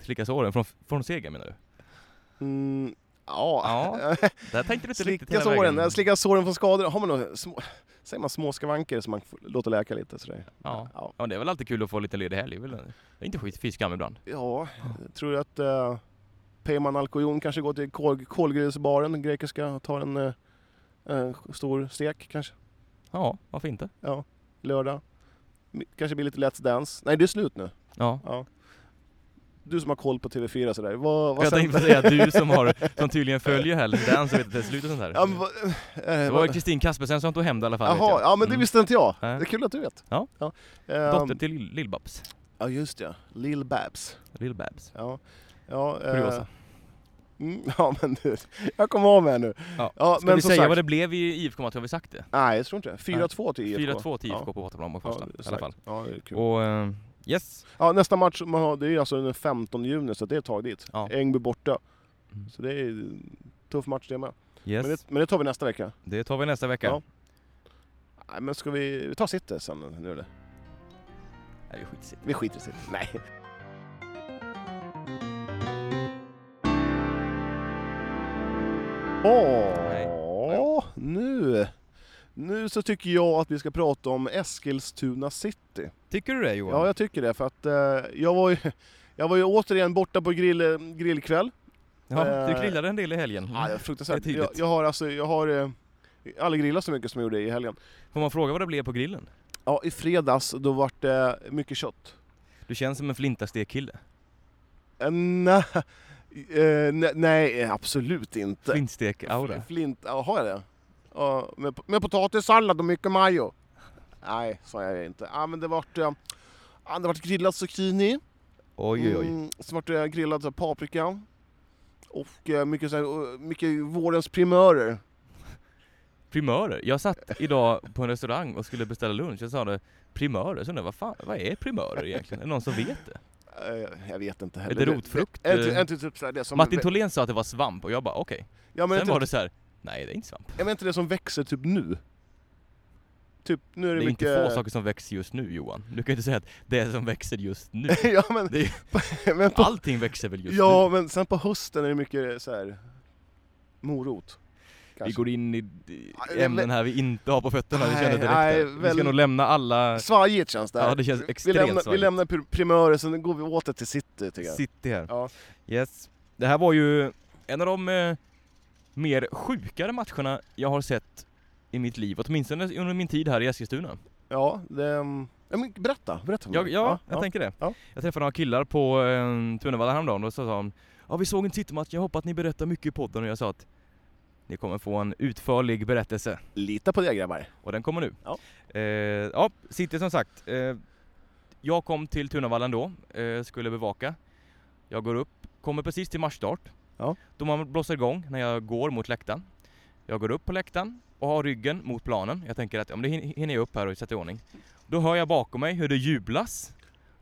Slicka såren från, från seger menar du? Mm, ja. Ja, där tänkte du inte riktigt slicka hela såren. vägen. Ja, Slicka såren från skador. Har man några små, säger man små skavanker som man får- låter läka lite sådär. Ja. Ja, ja, det är väl alltid kul att få lite ledig helg. Det är väl- det är inte skit fy skam ibland. ja tror du att uh, Peyman Alkojon kanske går till kol, kolgrynsbaren, den grekiska, och tar en eh, en stor stek kanske? Ja, varför inte? Ja, lördag. M- Kanske blir lite Let's Dance. Nej, det är slut nu. Ja. Ja. Du som har koll på TV4 sådär. Vad, vad Jag sänder- tänkte säga att du som, har, som tydligen följer helgen, den som vet att det är slut och sånt där. Ja, men, vad, Det eh, var vad, ju Kristin Kaspersen som tog hem det i alla fall. vet Jaha, jag. ja men det Mm. visste inte jag. Det Nej. är kul att du vet. Ja. Ehm, Dotter till Lill- Lill-Babs. Ja just ja, Lil babs Lill-Babs. Ja. Ja, eh, Kuriosa. mm, ja men du, jag kommer av mig här nu. Ja. Ja, Ska men vi som säga sagt- vad det blev i IFK-matchen? Har vi sagt det? Nej jag tror inte det. 4-2 till IFK. 4-2 till IFK på Ja. bortaplan mot Ja, Farsta i alla exakt. fall. Ja, det är kul. Och eh, yes, Ja, nästa match man har, det är alltså den 15 juni så det är ett tag dit. Ja. Ängby borta. Mm. Så det är en tuff match det med. yes. Men, Det... det, men det tar vi nästa vecka. tar vi nästa vecka. Ja. Nej, men ska vi, vi ta City sen nu eller? Nej, det är skitsigt. Vi skiter i City. Nej. Nej. Åh, nu. Nu så tycker jag att vi ska prata om Eskilstuna City. Tycker du det Johan? Ja, jag tycker det för att eh, jag var ju, jag var ju återigen borta på grill, eh, grillkväll. Ja, eh, du grillade en del i helgen. Ja, det är fruktansvärt. Mm. Det är jag, tydligt. jag har alltså, jag har eh, aldrig grillat så mycket som jag gjorde i helgen. Får man fråga vad det blev på grillen? Ja, i fredags då var det mycket kött. Du känns som en flintastekkille. Eh, Nej, eh, ne- nej, absolut inte. Flintstek-aura. Flint, ja, har jag det? Ja, med, med potatissallad och mycket majo. Nej, sa jag inte. Ja, men det vart, eh, ja, det vart grillad zucchini. Oj, oj, oj. Mm, sen vart det grillad så här, paprika. Och eh, mycket, så här, eh, mycket vårens primörer. Primörer. Jag satt idag på en restaurang och skulle beställa lunch. Jag sa det, primörer. Så undrade jag, vad fan, vad är primörer egentligen? Är det någon som vet det? Eh, jag vet inte Är heller. det rotfrukt? eh? Det, det, är inte typ så här, det som, Martin Tholén sa att det var svamp och jag bara okej. ja, men Sen inte, var det så här, nej det är inte svamp. Jag menar inte det som växer typ nu. Typ nu är Det det, är mycket... inte få saker som växer just nu Johan. Du kan ju inte säga att det är som växer just nu. ja, men, Det är, men på, allting växer väl just ja, men sen på hösten är det mycket så här morot. nu? Vi går in i i Aj, ämnen här vi inte har på fötterna, det Nej, känner jag direkt. nej, här. Vi ska väl- nog lämna alla Svajigt känns det här. Ja, det känns vi, extremt lämnar, vi svajigt. lämnar pr- primörer, sen går vi åter till city tycker jag. city här. Ja. Yes. Det här var ju en av de eh, mer sjukare matcherna jag har sett i mitt liv, åtminstone under min tid här i Eskilstuna. Ja, det, mm, Ja, men berätta, berätta för mig. Ja, ja, jag tänker det. ja. Jag träffade några killar på eh, Tunnevalla häromdagen och så sa de Ja, vi såg en titelmatch, jag hoppas att ni berättar mycket i podden och jag sa att ni kommer få en utförlig berättelse Lita på det grabbar. och den kommer nu. Ja. Eh, ja, City som sagt. Eh, jag kom till Tunavallen då, eh, skulle bevaka. Jag går upp, kommer precis till matchstart. Ja. Då man blåser igång när jag går mot läktaren. Jag går upp på läktaren och har ryggen mot planen. Jag tänker att om det hin- hinner jag upp här och sätta i ordning. Då hör jag bakom mig hur det jublas.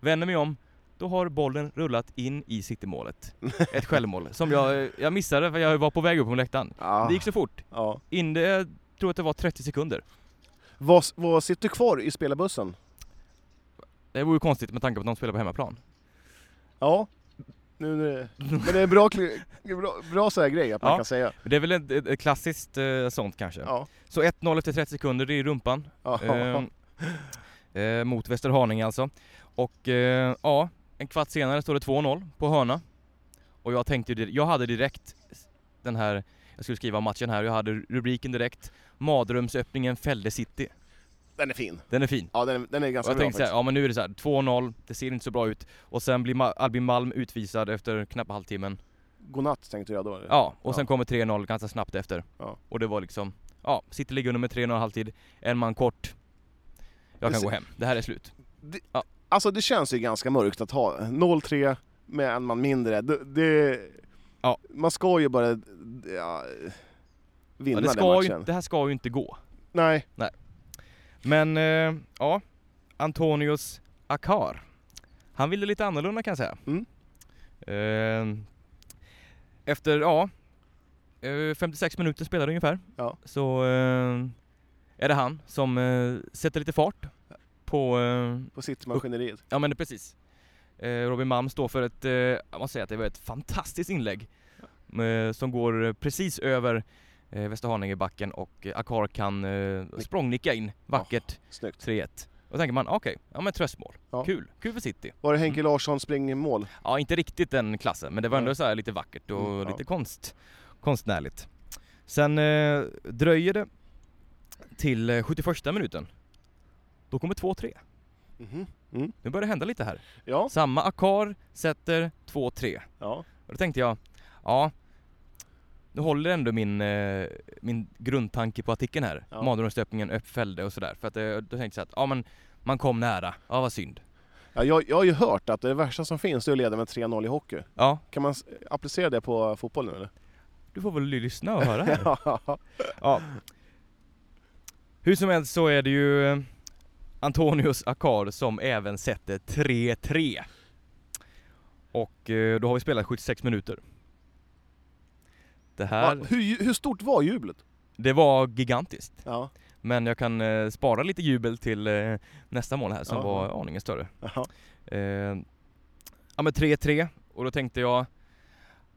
Vänder mig om. Då har bollen rullat in i citymålet. Ett självmål som jag, jag missade för jag var på väg upp på läktaren. Ja. Det gick så fort. Ja. In det, jag tror att det var 30 sekunder. Vad, vad sitter kvar i spelarbussen? Det vore ju konstigt med tanke på att de spelar på hemmaplan. Ja. Nu, nu, men det är en bra, kli- bra, bra så här grej att man Ja. kan säga. Men Det är väl ett, ett, ett klassiskt eh, sånt kanske. Ja. Så 1-0 efter 30 sekunder, det är rumpan. Ja. Ehm, eh, mot Västerhaninge alltså. Och eh, ja, en kvart senare står det 2-0 på hörna. Och jag tänkte, dir- jag hade direkt den här, jag skulle skriva matchen här, jag hade rubriken direkt. Madrumsöppningen fällde City. Den är fin. Den är fin. Ja, den, är- den är Och ganska jag bra tänkte faktiskt. såhär, ja men nu är det så här 2-0, det ser inte så bra ut. Och sen blir Ma- Albin Malm utvisad efter knappt halvtimmen. Godnatt tänkte jag då. Ja, och sen typ. Ja. kommer 3-0 ganska snabbt efter. Ja. Och det var liksom, ja, City ligger under med 3-0 halvtid, en man kort. Jag kan Det- gå hem, det här är slut. Alltså det känns ju ganska mörkt att ha 0-3 med en man mindre. Det, det, Ja. Man ska ju bara ja, vinna Ja, det, den ska matchen. ju, det här ska ju inte gå. Nej, Men, eh, ja, Antonius Akar. Han ville lite annorlunda kan jag säga. Mm. Eh, efter, ja, eh, 56 minuter spelade ungefär. Ja. Så eh, är det han som eh, sätter lite fart på eh, på Citymaskineriet. Ja men det- precis. Eh, Robin Malm står för ett, eh, jag måste säga att det var ett fantastiskt inlägg. Eh, som går eh, precis över eh, Västerhaningebacken och eh, Akar kan eh, språngnicka in vackert Snyggt. 3-1. Och tänker man, okej, ja men tröstmål. Ja. Kul, kul för City. Var det Mm. Henke Larsson springer i mål? Ja, inte riktigt den klassen, men det var ändå så här lite vackert och Mm, ja. lite konst, konstnärligt. Sen eh, dröjer det till eh, 71 minuten. Då kommer 2-3. Mhm. Nu börjar det hända lite här. Ja. Samma Akar sätter 2-3. ja. Och då tänkte jag, ja, nu håller ändå min, eh, min grundtanke på artikeln här. Ja. Madrumstöpningen uppfällde och sådär. För att eh, då tänkte jag så att, ja men man kom nära, ja vad synd. ja jag, jag har ju hört att det värsta som finns är att leda med 3-0 i hockey. Ja, Kan man s- applicera det på fotboll nu eller? du får väl lyssna och höra här. Ja. Ja. Hur som helst så är det ju eh, Antonius Akar som även sätter 3-3. Och eh, då har vi spelat 76 minuter. Det här, Va, hur, ju- hur stort var jublet? det var gigantiskt. Ja. Men jag kan eh, spara lite jubel till eh, nästa mål här som Ja. var aningen större. Jaha. Eh, ja men 3-3 och då tänkte jag,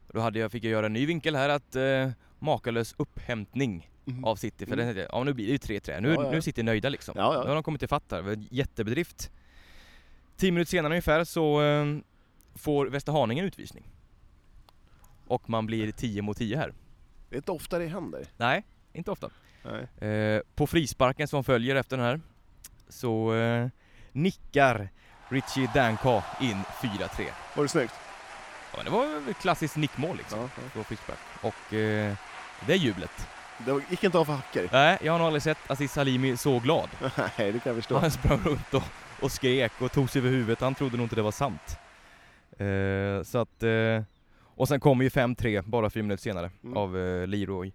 då hade jag, fick jag göra en ny vinkel här att eh, makalös upphämtning Mhm. av City. För Mm. den tänkte jag, ja nu blir det ju 3-3, nu, Ja, ja, ja. nu sitter nöjda liksom. Ja, ja. Nu har de kommit till fatt här, Det var en jättebedrift. 10 minuter senare ungefär så eh, får Västerhaninge en utvisning. Och man blir 10 mot 10 här. Det är inte ofta det händer. Nej, inte ofta. Nej. Eh, på frisparken som följer efter den här så eh, nickar Richie Danka in 4-3. Var det snyggt? Ja, men det var ett klassiskt nickmål liksom. Ja. På frispark. Och eh, det är jublet. Det var- gick inte av för hackor. Nej, jag har nog aldrig sett Aziz Salimi så glad. Nej, det kan jag förstå. Han sprang runt och, och skrek och tog sig över huvudet. Han trodde nog inte det var sant. Eh, så att... Eh, och sen kommer ju 5-3 bara fyra minuter senare Mm. av eh, Leroy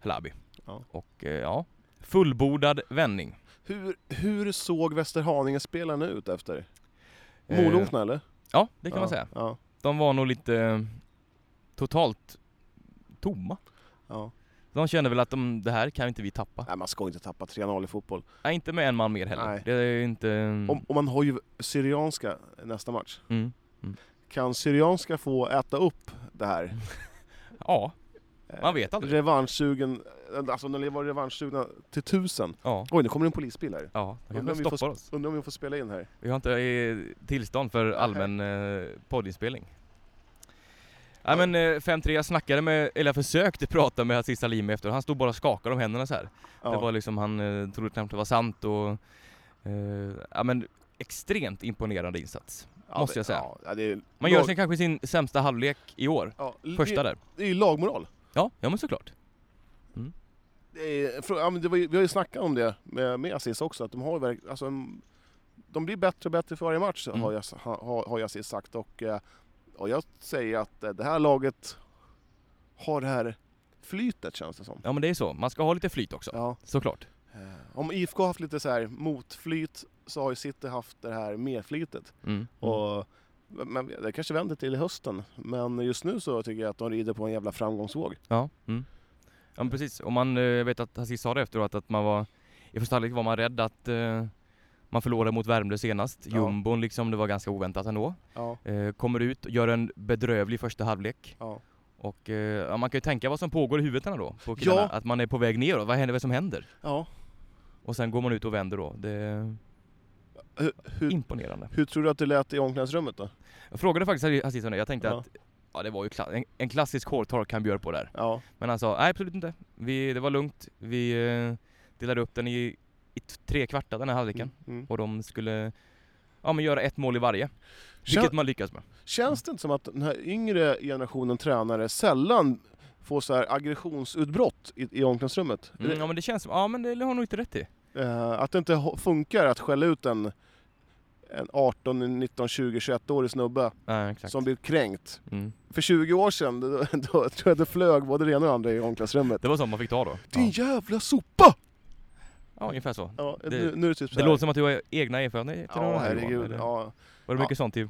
Halabi. Ja. Och eh, ja, fullbordad vändning. Hur, hur såg Västerhaninge-spelarna ut efter? Eh, Molokna eller? Ja, det kan ja, man säga. Ja, De var nog lite eh, totalt tomma. ja. De kände väl att de, det här kan inte vi tappa. Nej, man ska inte tappa 3-0 i fotboll. Nej, inte med en man mer heller. Nej. Det är ju inte... Om, och man har ju Syrianska nästa match. Mm. Mm. Kan Syrianska få äta upp det här? Ja, Eh, man vet aldrig. Revanschsugen, alltså när de var revanschsugna till tusen. Ja, Oj, nu kommer det en polisbil här. ja. De Undrar om vi kanske stoppar får- oss. Undrar om vi får spela in här. Vi har inte eh, tillstånd för allmän eh, poddinspelning. Nej men eh, 5-3, jag snackade med, eller jag försökte prata med Aziz Salimi efter han stod bara och skakade om händerna så här. Ja. Det var liksom, han eh, trodde knappt det var sant och... Eh, ja men extremt imponerande insats. Måste det- jag säga. Ja, det är Man gör sin, kanske sin sämsta halvlek i år. ja, l- Första det, där. det är ju lagmoral. Ja, ja men såklart. Det är, för, ja, men det var, ju- vi har ju snackat om det med, med Aziz också, att de har ju verk- alltså, en- De blir bättre och bättre för varje match, Mm. har, jag, ha- har, har jag Aziz sagt. Och, eh, och jag säger att eh, det här laget har det här flytet, känns det som. Ja men det är så. Man ska ha lite flyt också. Ja. Såklart. Eh, Om IFK har haft lite så här motflyt så har ju City haft det här medflytet. Mm. Och, men det kanske vänder till i hösten, men just nu så tycker jag att de rider på en jävla framgångsvåg. Ja. Mm. Ja men precis. Och man, eh, jag vet att Aziz sa det efteråt att man var, i första halvlek var man rädd att eh, man förlorade mot Värmdö senast. Ja. Jumbon liksom, det var ganska oväntat ändå. Ja, Eh, kommer ut, gör en bedrövlig första halvlek. ja. Och eh, ja, man kan ju tänka vad som pågår i huvudet då, på killarna. Ja. Att man är på väg ner och vad händer, vad som händer? ja. Och sen går man ut och vänder då. Det är Hur, hur, imponerande. hur tror du att det lät i omklädningsrummet då? Jag frågade faktiskt Aziz om det, jag tänkte Ja. att ja, det var ju kla- en, en klassisk hårtork han bjöd på där. Ja, Men han sa, nej absolut inte. Vi, det var lugnt. Vi eh, delade upp den i, i t- tre kvartar den här halvleken. Mm. Och de skulle ja, men göra ett mål i varje. Vilket Kän, man lyckas med. känns det inte som att den här yngre generationen tränare sällan får så här aggressionsutbrott i, i omklädningsrummet? Mm, ja men det känns som, ja men det har nog inte rätt i. Eh, att det inte ho- funkar att skälla ut en, en 18, 19, 20, 21-årig snubbe Nej exakt. som blir kränkt. Mm. För 20 år sedan, då, då tror jag det flög både det ena och det andra i omklädningsrummet. Det var sånt man fick ta då. Din Ja, jävla sopa! ja ungefär så. Ja, Det- nu, nu är det typ så Det här. låter som att du har egna erfarenheter av Ja, det här herregud. Johan, eller? Ja. Var det Ja. mycket sånt i...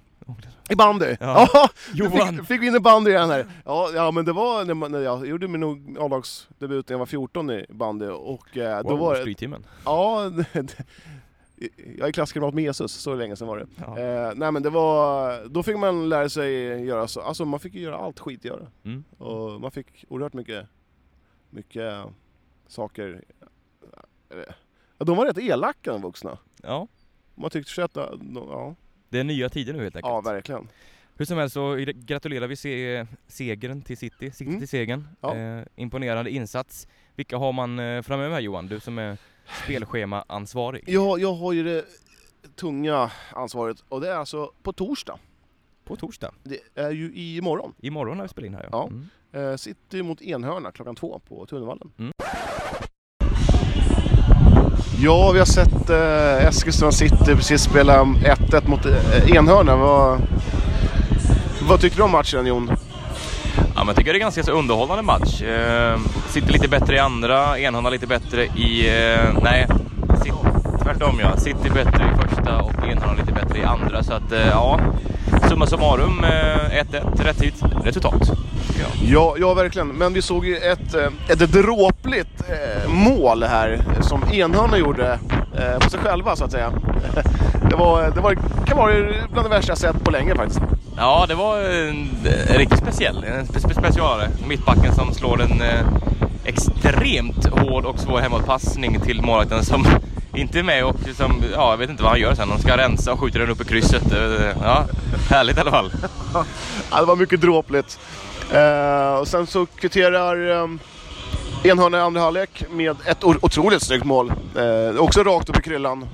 I bandy! Ja. Ja. Nu Johan! Fick, fick vi in en bandy igen här. Ja, ja men det var när, man, när jag gjorde min nog- A-lagsdebut när jag var 14 i bandy och eh, då Wow, var det... Strytimmen. Ja, det- det- jag är klasskamrat med Jesus, så länge sedan var det. Ja. Eh, nej men det var, då fick man lära sig göra så, alltså man fick ju göra allt skit göra. Mm. Och man fick oerhört mycket, mycket saker. Eller, Ja, de var rätt elaka de vuxna. ja. Man tyckte så att, ja, Det är nya tider nu helt enkelt. ja verkligen. Hur som helst så i- gratulerar vi se segern till City, City Mm. till segern. Ja. Eh, imponerande insats. Vilka har man eh, framöver här Johan? Du som är spelschemaansvarig. Ja, jag har ju det tunga ansvaret och det är alltså på torsdag. På torsdag, Det är ju imorgon. imorgon när vi spelar in här Ja. Mm. Eh, City mot Enhörna klockan två på Tunnelvallen. Mm. Ja, vi har sett eh, Eskilstuna City precis spela 1-1 mot eh, Enhörna. Vad, vad tyckte du om matchen Jon? Ja, men jag tycker det är ganska så underhållande match. Eh, City lite bättre i andra, Enhörna lite bättre i... Eh, nej, City, tvärtom ja. City bättre i första och Enhörna lite bättre i andra. Så att eh, ja, summa summarum eh, 1-1, rätt hit, resultat. Ja. Ja, ja verkligen. Men vi såg ju ett, eh, ett dråpligt eh, mål här som Enhörna gjorde eh, på sig själva så att säga. Det, var, det var, kan vara bland det värsta jag sett på länge faktiskt. Ja, det var en, en riktigt speciell. En spe, spe, specialare. Mittbacken som slår en eh, extremt hård och svår hemåtpassning till målvakten som inte är med och som, ja, jag vet inte vad han gör sen. Han ska rensa och skjuter den upp i krysset. Eh, Ja, härligt i alla fall. Ja, det var mycket dråpligt. Eh, och sen så kvitterar eh, Enhörna i andra halvlek med ett o- otroligt snyggt mål. Eh, också rakt upp i kryllan.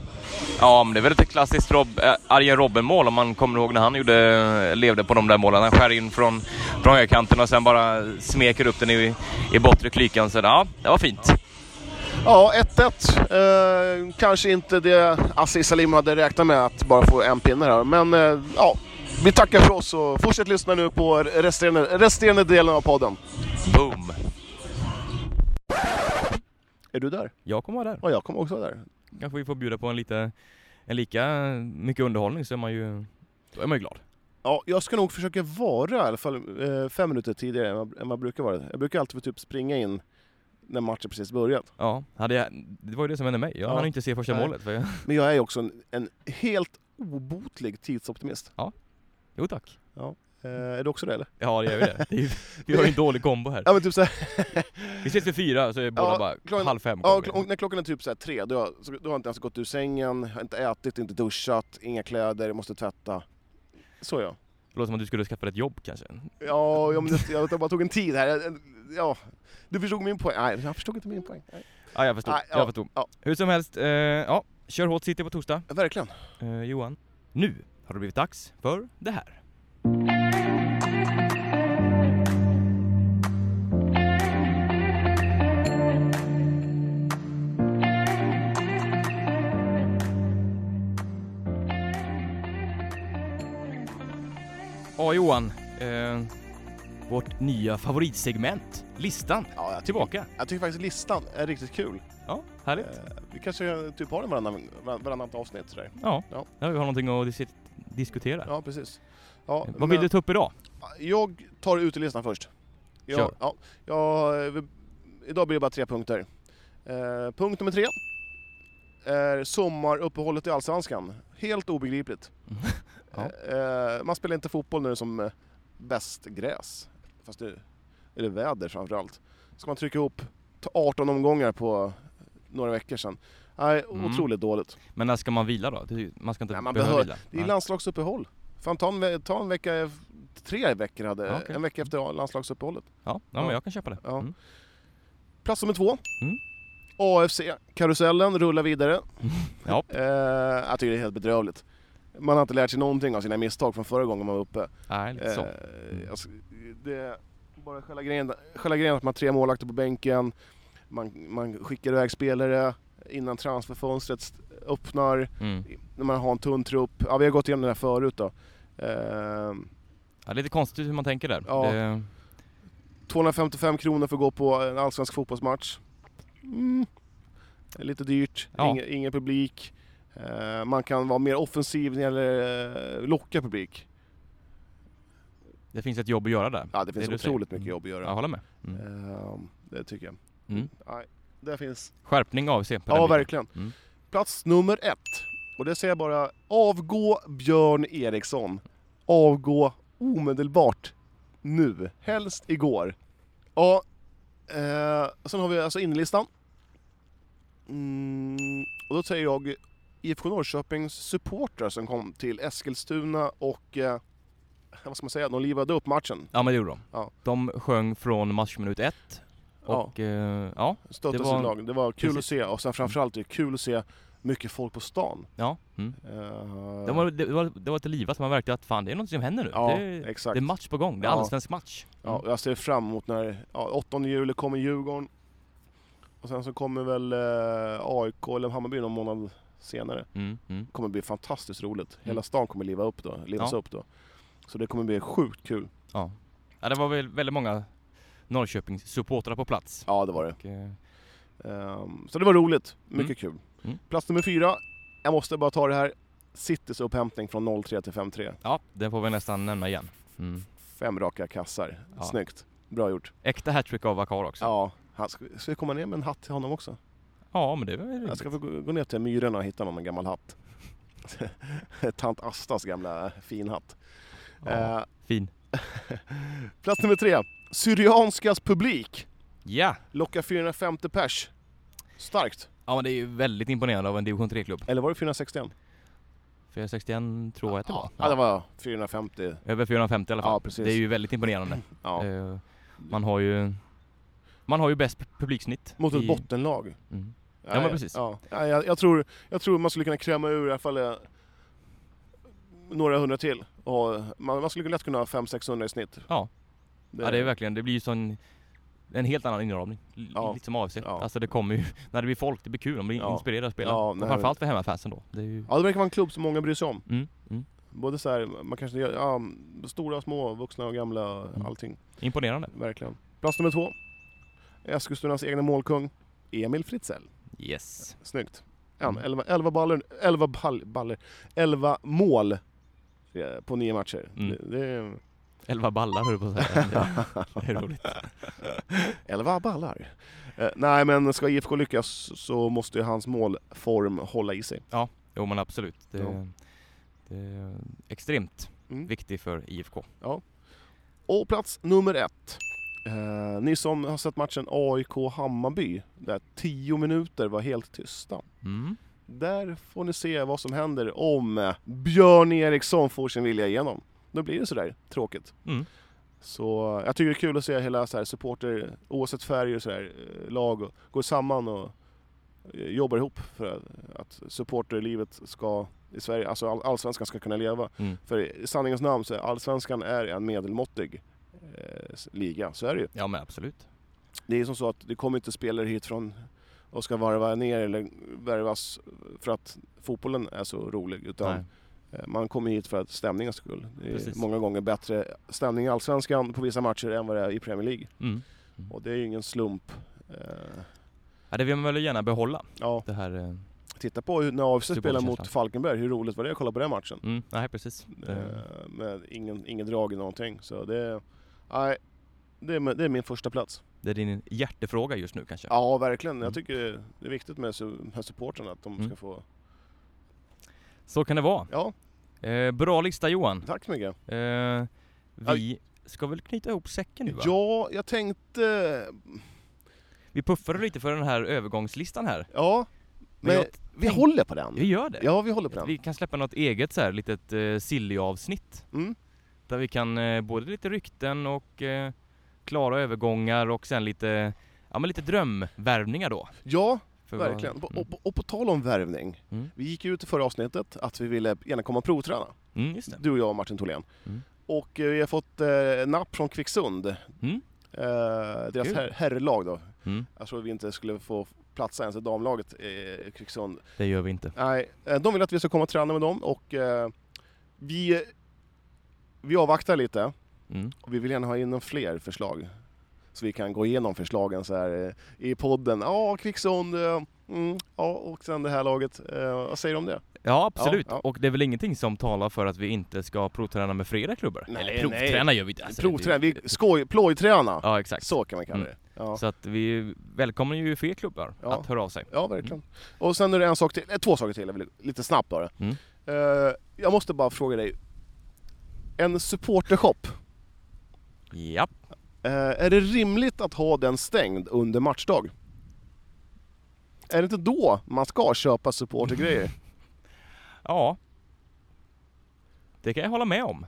Ja, men det är väl ett klassiskt Rob, eh, Arjen Robben-mål om man kommer ihåg när han gjorde, levde på de där målen. Han skär in från, från högerkanten och sen bara smeker upp den i, i bortre klykan. Så ja, det var fint. Ja, 1-1. Eh, kanske inte det Aziz Salim hade räknat med att bara få en pinne här. Men eh, ja, vi tackar för oss och fortsätt lyssna nu på resterande, resterande delen av podden. Boom! Är du där? Jag kommer vara där. Ja, jag kommer också vara där. kanske vi får bjuda på en lite, en lika mycket underhållning så är man ju, då är man ju glad. Ja, jag ska nog försöka vara i alla fall eh, fem minuter tidigare än vad, än vad jag brukar vara. Jag brukar alltid få typ springa in när matchen precis börjat. Ja, hade jag, det var ju det som hände mig. Jag Ja. hann ju inte se första Nej. målet. För jag, Men jag är ju också en, en helt obotlig tidsoptimist. jo tack. Eh, är du också det eller? Ja, det gör ju det. det är ju, vi har ju en dålig kombo här. Ja men typ såhär, Vi ses vid fyra så är båda Ja, bara klockan- halv fem. ja, kommer vi. kl- och när klockan är typ såhär tre, då, har jag- så- då har jag inte ens gått ur sängen, har inte ätit, inte duschat, inga kläder, måste tvätta. Så ja. Det låter som att du skulle skaffa dig ett jobb kanske. Ja, ja men det, jag, jag bara tog en tid här. Jag- jag- Ja, du förstod min poäng. Nej, jag förstod inte min poäng. Nej. Ja, jag förstod. Nej, ja, jag förstod. ja. Hur som helst, eh, ja, Kör hårt City på torsdag, Verkligen. eh, Johan. Nu har det blivit dags för det här. Ja, Johan. Eh, vårt nya favoritsegment, listan, Ja, jag, tycker, tillbaka. jag tycker faktiskt listan är riktigt kul. Ja, härligt. Eh, vi kanske typ har den varannan, var- varannat avsnitt sådär. Ja, Ja. ja vi har någonting att dis- diskutera. Ja, precis. Ja, Vad vill men- du ta upp idag? Jag tar utelistan först. Jag, Kör. Ja, jag, vi- idag blir det bara tre punkter. Eh, punkt nummer tre är sommaruppehållet i Allsvenskan. Helt obegripligt. Ja. Eh, man spelar inte fotboll nu som eh, bäst gräs. Fast det är det väder framförallt. Ska man trycka ihop ta 18 omgångar på några veckor sedan. Nej, Mm. otroligt dåligt. Men när ska man vila då? Det- Man ska inte Nej, man behöva behöver- vila? Det är Nej. landslagsuppehåll. Fan, ta en, ve- ta en vecka, tre veckor hade, Ja, okej. en vecka efter landslagsuppehållet. Ja, ja, men jag kan köpa det. Ja. Mm. Plats nummer två. Mm. AFC-karusellen rullar vidare. Ja. Eh, jag tycker det är helt bedrövligt. Man har inte lärt sig någonting av sina misstag från förra gången man var uppe. Nej, lite så. Eh, alltså, det är bara själva grejen, själva grejen att man har tre målvakter på bänken, man, man skickar iväg spelare innan transferfönstret öppnar, Mm. när man har en tunn trupp. Ja, vi har gått igenom det här förut då. Eh, Ja, det är lite konstigt hur man tänker där. Ja. Det, 255 kronor för att gå på en allsvensk fotbollsmatch. Mm. Det är Lite dyrt, Ja. Inge, ingen publik. Eh, man kan vara mer offensiv när det gäller eh, locka publik. det finns ett jobb att göra där. Ja, det Det finns du säger. otroligt mycket jobb att Jag göra. håller med. Mm. Eh, det tycker jag. Mm. Nej, det finns. Skärpning av sig på Ja, den biten. verkligen. Mm. Plats nummer ett. Och det säger jag bara, avgå Björn Eriksson. Avgå omedelbart. Nu. Helst igår. Ja, eh, sen har vi alltså inlistan. Mm, och då säger jag IFK Norrköpings supportrar som kom till Eskilstuna och eh, vad ska man säga, de livade upp matchen. Ja, men det gjorde de. Ja. De sjöng från matchminut ett. Ja. Och eh, ja, Stöttade Det var- sitt lag. Det var kul Precis. att se och sen framförallt det är kul att se mycket folk på stan. ja. Mm. Eh, Det, var, det, var, det var lite livat. Man märkte att fan, det är något som händer nu. Ja, det, exakt. det är match på gång. Det är Ja. allsvensk match. Ja, jag ser fram emot när ja, 8 juli kommer Djurgården. Och sen så kommer väl eh, AIK eller Hammarby någon månad senare. Mm. Mm. Det kommer bli fantastiskt roligt. Hela stan kommer liva upp då, livas Ja. upp då. Så det kommer bli sjukt kul. Ja. ja, det var väl väldigt många Norrköpings supportrar på plats. Ja, det var det. Och, eh, Ehm, så det var roligt. Mycket kul. Mm. Plats nummer fyra. Jag måste bara ta det här. Citys upphämtning från 03 till 53. ja, den får vi nästan nämna igen. Mm. Fem raka kassar. Ja. Snyggt. Bra gjort. Äkta hattrick av Vakar också. Ja. Ja, han ska, ska vi komma ner med en hatt till honom också? men det var ju Jag ska få gå gå ner till Myrorna och hitta någon med en gammal hatt. Tant Astas gamla finhatt. ja, Eh, fin. plats nummer tre. Syrianskas publik Ja! lockar 450 pers. Starkt. Ja men det är ju väldigt imponerande av en division 3-klubb. Eller var det 461? 461 tror jag att det var. Ja, det var 450. Över 450 i alla fall. Ja, precis. Det är ju väldigt imponerande. Ja. Eh, Man har ju... Man har ju bäst publiksnitt. Mot ett i- bottenlag. Mm. Ja, men precis. Ja. Ja, jag, jag, tror, jag tror man skulle kunna kräma ur i alla fall eh, några hundra till. Och ha- man, man skulle lätt kunna ha 500-600 i snitt. Ja. Ja det är verkligen, det blir ju sån... En helt annan inramning. L- Ja. Lite som AFC. Ja. Alltså det kommer ju... När det blir folk, det blir kul. De blir Ja. inspirerade att spela. Ja, och nej, framförallt för hemmafansen då. Det är ju... Ja, det verkar vara en klubb som många bryr sig om. Mm, mm. Både så här, man kanske gör, ja, stora, små, vuxna och gamla, Mm. allting. Imponerande. Verkligen. Plats nummer två. Eskilstunas egna målkung, Emil Fritzell. Yes. Snyggt. Ja, Mm. 11, 11 baller, 11 ball, baller, 11 mål eh, på nio matcher. Mm. Det, det är, Elva ballar höll jag på att säga. det är roligt. 11 ballar. Eh, nej, men ska IFK lyckas så måste ju hans målform hålla i sig. Jo men absolut. Det, Ja. det är extremt Mm. viktigt för IFK. Och plats nummer ett. Eh, ni som har sett matchen AIK-Hammarby, där 10 minuter var helt tysta. Mm. Där får ni se vad som händer om eh, Björn Eriksson får sin vilja igenom. Då blir det sådär tråkigt. Mm. Så eh, jag tycker det är kul att se hela så här supporter, oavsett färg och sådär, eh, lag och- går samman och eh, jobbar ihop för att supporterlivet ska i Sverige, alltså all, allsvenskan ska kunna leva. Mm. För i sanningens namn så är allsvenskan är en medelmåttig eh, s- liga, så är det ju. Ja men absolut. Det är som så att det kommer inte spelare hit från och ska varva ner eller värvas för att fotbollen är så rolig. Utan Nej. eh, man kommer hit för att stämningens skull. Det är Precis. många gånger bättre stämning i Allsvenskan på vissa matcher än vad det är i Premier League. Mm. Och det är ju ingen slump. Eh, Ja, det vill man väl gärna behålla. Ja, Det här... eh, titta på hur, när AFC spelade Supporterkänslan. mot Falkenberg, hur roligt var det att kolla på den matchen? Mm, nej precis. Det, Eh, Med ingen, ingen drag i någonting. Så det, nej, det, är, det är min första plats. det är din hjärtefråga just nu kanske. Ja, verkligen. Jag Mm. tycker det- det är viktigt med, su- med supportrarna att de Mm. ska få... Så kan det vara. Ja, Eh, bra lista Johan. tack så mycket. Eh, vi ska väl knyta ihop säcken nu va? Ja, jag tänkte... Vi puffade lite för den här övergångslistan här. Ja, men, Men jag vi tänk- håller på den. Vi gör det. Ja, vi håller på den. Vi kan släppa något eget så här litet eh, silly-avsnitt. Mm. Där vi kan eh, både lite rykten och eh, klara övergångar och sen lite, ja men lite drömvärvningar då. Ja, För vad- verkligen. Och, Mm. och, och på tal om värvning. Mm. Vi gick ju ut i förra avsnittet att vi ville gärna komma och provträna. Mm, just det. Du och jag och Martin Tholén. Mm. Och eh, vi har fått eh, napp från Kvicksund. Mm. Eh, deras Kul. her- herrlag då. Mm, Jag tror vi inte skulle få platsa ens i damlaget i Kvicksund. det gör vi inte. Nej, eh, de vill att vi ska komma och träna med dem och eh, vi, vi avvaktar lite. Mm. Och vi vill gärna ha in några fler förslag. Så vi kan gå igenom förslagen så här eh, i podden. Ja, Kvicksund. eh, Mm, ja, och sen det här laget. Eh, vad säger du om det? Ja, absolut. Ja, ja. Och det är väl ingenting som talar för att vi inte ska provträna med flera klubbar? Nej, Eller provträna gör vi inte. Alltså, det- Provträna, vi skoj, plojträna. Ja, exakt. Så kan man kalla Mm. det. Ja. Så att vi välkomnar ju fler klubbar Ja. att höra av sig. Ja, verkligen. Och sen är det en sak till, eh, två saker till, jag vill- lite snabbt bara. Mm. Eh, jag måste bara fråga dig. En supportershop, Ja. eh, är det rimligt att ha den stängd under matchdag? Är det inte då man ska köpa supportergrejer? Ja. Det kan jag hålla med om.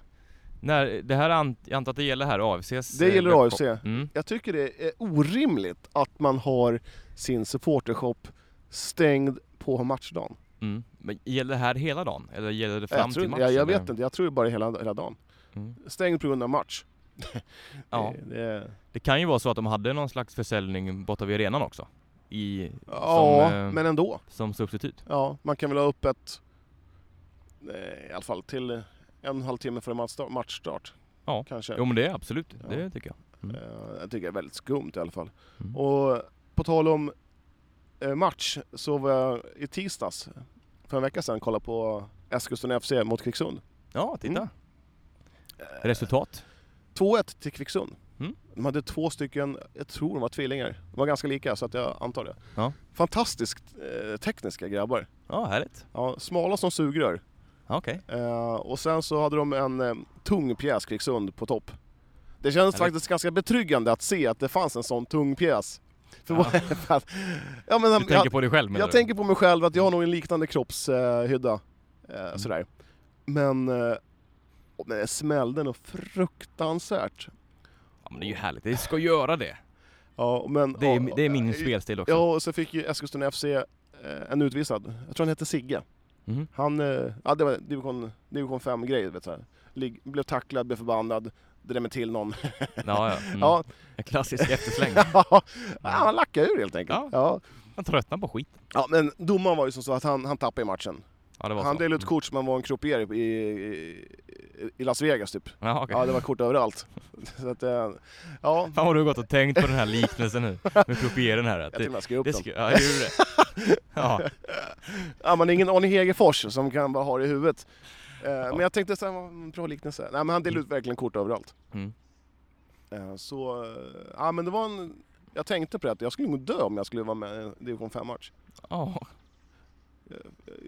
När det här, an- jag antar att det gäller här AFCs... Det eh, gäller webbshop. AFC. Mm. Jag tycker det är orimligt att man har sin supportershop stängd på matchdagen. Mm. Men gäller det här hela dagen? Eller gäller det fram Jag, tror, till matchen? jag, jag vet eller? inte, jag tror bara hela, hela dagen. Mm. Stängd på grund av match. Ja. Det, det, Det kan ju vara så att de hade någon slags försäljning borta vid arenan också. I, ja som, eh, men ändå. som substitut. Ja, man kan väl ha öppet eh, i alla fall till en och en halv timme före matchstart. matchstart Ja. Kanske. Jo men det är absolut, Ja. det tycker jag. Eh, jag tycker det är väldigt skumt i alla fall. Mm. Och på tal om eh, match så var jag i tisdags för en vecka sedan kolla på Eskilstuna FC mot Kvicksund. Ja, titta. Mm. Resultat. 2-1 till Kvicksund. Mm. De hade två stycken, jag tror de var tvillingar. De var ganska lika så att jag antar det. Ja. Fantastiskt eh, tekniska grabbar. Ja, härligt. Ja, smala som sugrör. Ja, Okej. Eh, och sen så hade de en eh, tung pjäs, Kvicksund, på topp. Det kändes Eller- faktiskt ganska betryggande att se att det fanns en sån tung pjäs. För Ja. vad- för att- ja, men, Du jag, tänker på dig själv menar jag du? tänker på mig själv att jag har nog en liknande kroppshydda. Eh, Mm. Sådär. Men, eh, och- men det smällde nog fruktansvärt. Ja, men det är ju härligt, det ska göra det. Ja, men, Det är, ja, det är min eh, spelstil också. Ja, och så fick ju Eskilstuna FC eh, en utvisad. Jag tror han hette Sigge. Mhm. Han, eh, ja det var division, division 5 grej vet du. så här. Ligg- Blev tacklad, blev förbannad, drämde till någon. Ja, ja. Mm. Ja, En klassisk eftersläng. ja, han lackade ur helt enkelt. Ja. Ja. Man tröttnar på skit. Ja, men domaren var ju som så att han, han tappade i matchen. Ja, det var Han så. Mm. delade ut kort som han var en croupier i, i, i Las Vegas typ. Ja, okej. Ja, det var kort överallt. Så att, eh, ja, Fan vad du har gått och tänkt på den här liknelsen nu, med kopieren här. typ. jag till Det, och med skrev upp det dem. ska, ja, gjorde du det? Ja, Ja, man är ingen Arne Hegerfors som kan bara ha det i huvudet. Eh, Men jag tänkte så här, vad en bra liknelse. Nej, men han delade ut verkligen kort överallt. Mm. Eh, Så, eh, ja men det var en... Jag tänkte på det att jag skulle nog dö om jag skulle vara med i en division 5-match. ja.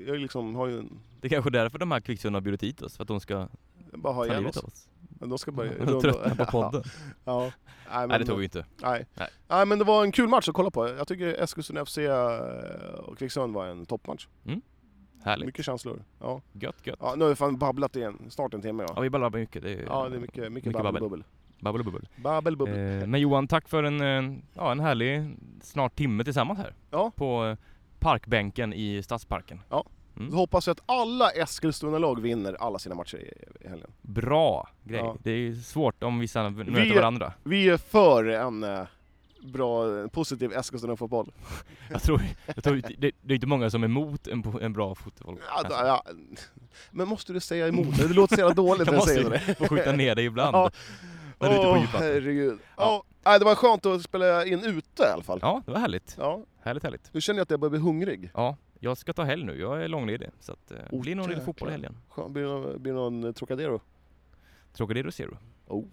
Jag liksom har ju... en- Det är kanske är därför de här kvicksundarna har bjudit hit oss, för att de ska jag bara ha ta ihjäl livet oss. av oss. Men de ska bara... De tröttnar på podden. Ja. Nej, men, Nej, det tog vi inte. Nej. Nej. Nej, men det var en kul match att kolla på. Jag tycker Eskilstuna FC eh, och Kvicksund var en toppmatch. Härligt. Mycket känslor. Ja. Gött, gött. ja, nu har vi fan babblat i en, snart en timme Ja, ja. vi ballar på mycket. Det är, Ja, det är mycket, mycket, mycket babbel babbel. bubbel. babbel och bubbel. Babbel bubbel. Eh, men Johan, tack för en, eh, ja, en härlig snart timme tillsammans här. Ja. På eh, parkbänken i Stadsparken. Då hoppas jag att alla Eskilstuna-lag vinner alla sina matcher i- i helgen. Bra grej. Ja. Det är svårt om vissa möter Vi- varandra. Vi är för en eh, bra, eh, positiv Eskilstuna-fotboll. Jag tror, jag tror det, det är inte många som är emot en, po- en bra fotboll. Ja, då- ja. Men måste du säga emot det? Det låter så jävla dåligt när jag jag säger måste det. ju få skjuta ner dig ibland. Ja. När du är ute på Åh, djupet. herregud. Ja. Ja. nej, det var skönt att spela in ute i alla fall. Ja, det var härligt. Ja. Härligt, härligt. Nu känner jag att jag börjar bli hungrig. Ja, jag ska ta helg nu. Jag är långledig. Så att, eh, det Oh, blir nog lite jäklar. fotboll i helgen. Skönt. Blir det någon, blir det någon Trocadero? Trocadero Zero. Oh.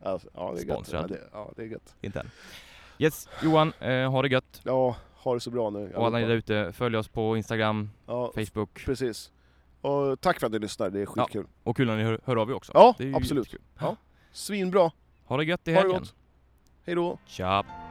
Alltså, ja, det är gött. Ja, Sponsrad. det, ja, det är gött. Inte än. Yes, Johan, eh, ha det gött. Ja, ha det så bra nu. Och alla ni allihopa. där ute, följ oss på Instagram, Ja, Facebook precis. Och tack för att ni lyssnar, det är Ja. skitkul. och kul när ni hör, hör av er också. Ja, Det är ju absolut. jättekul. Svinbra. Ha det gött i Ha det helgen. gott. Hej då. Tja!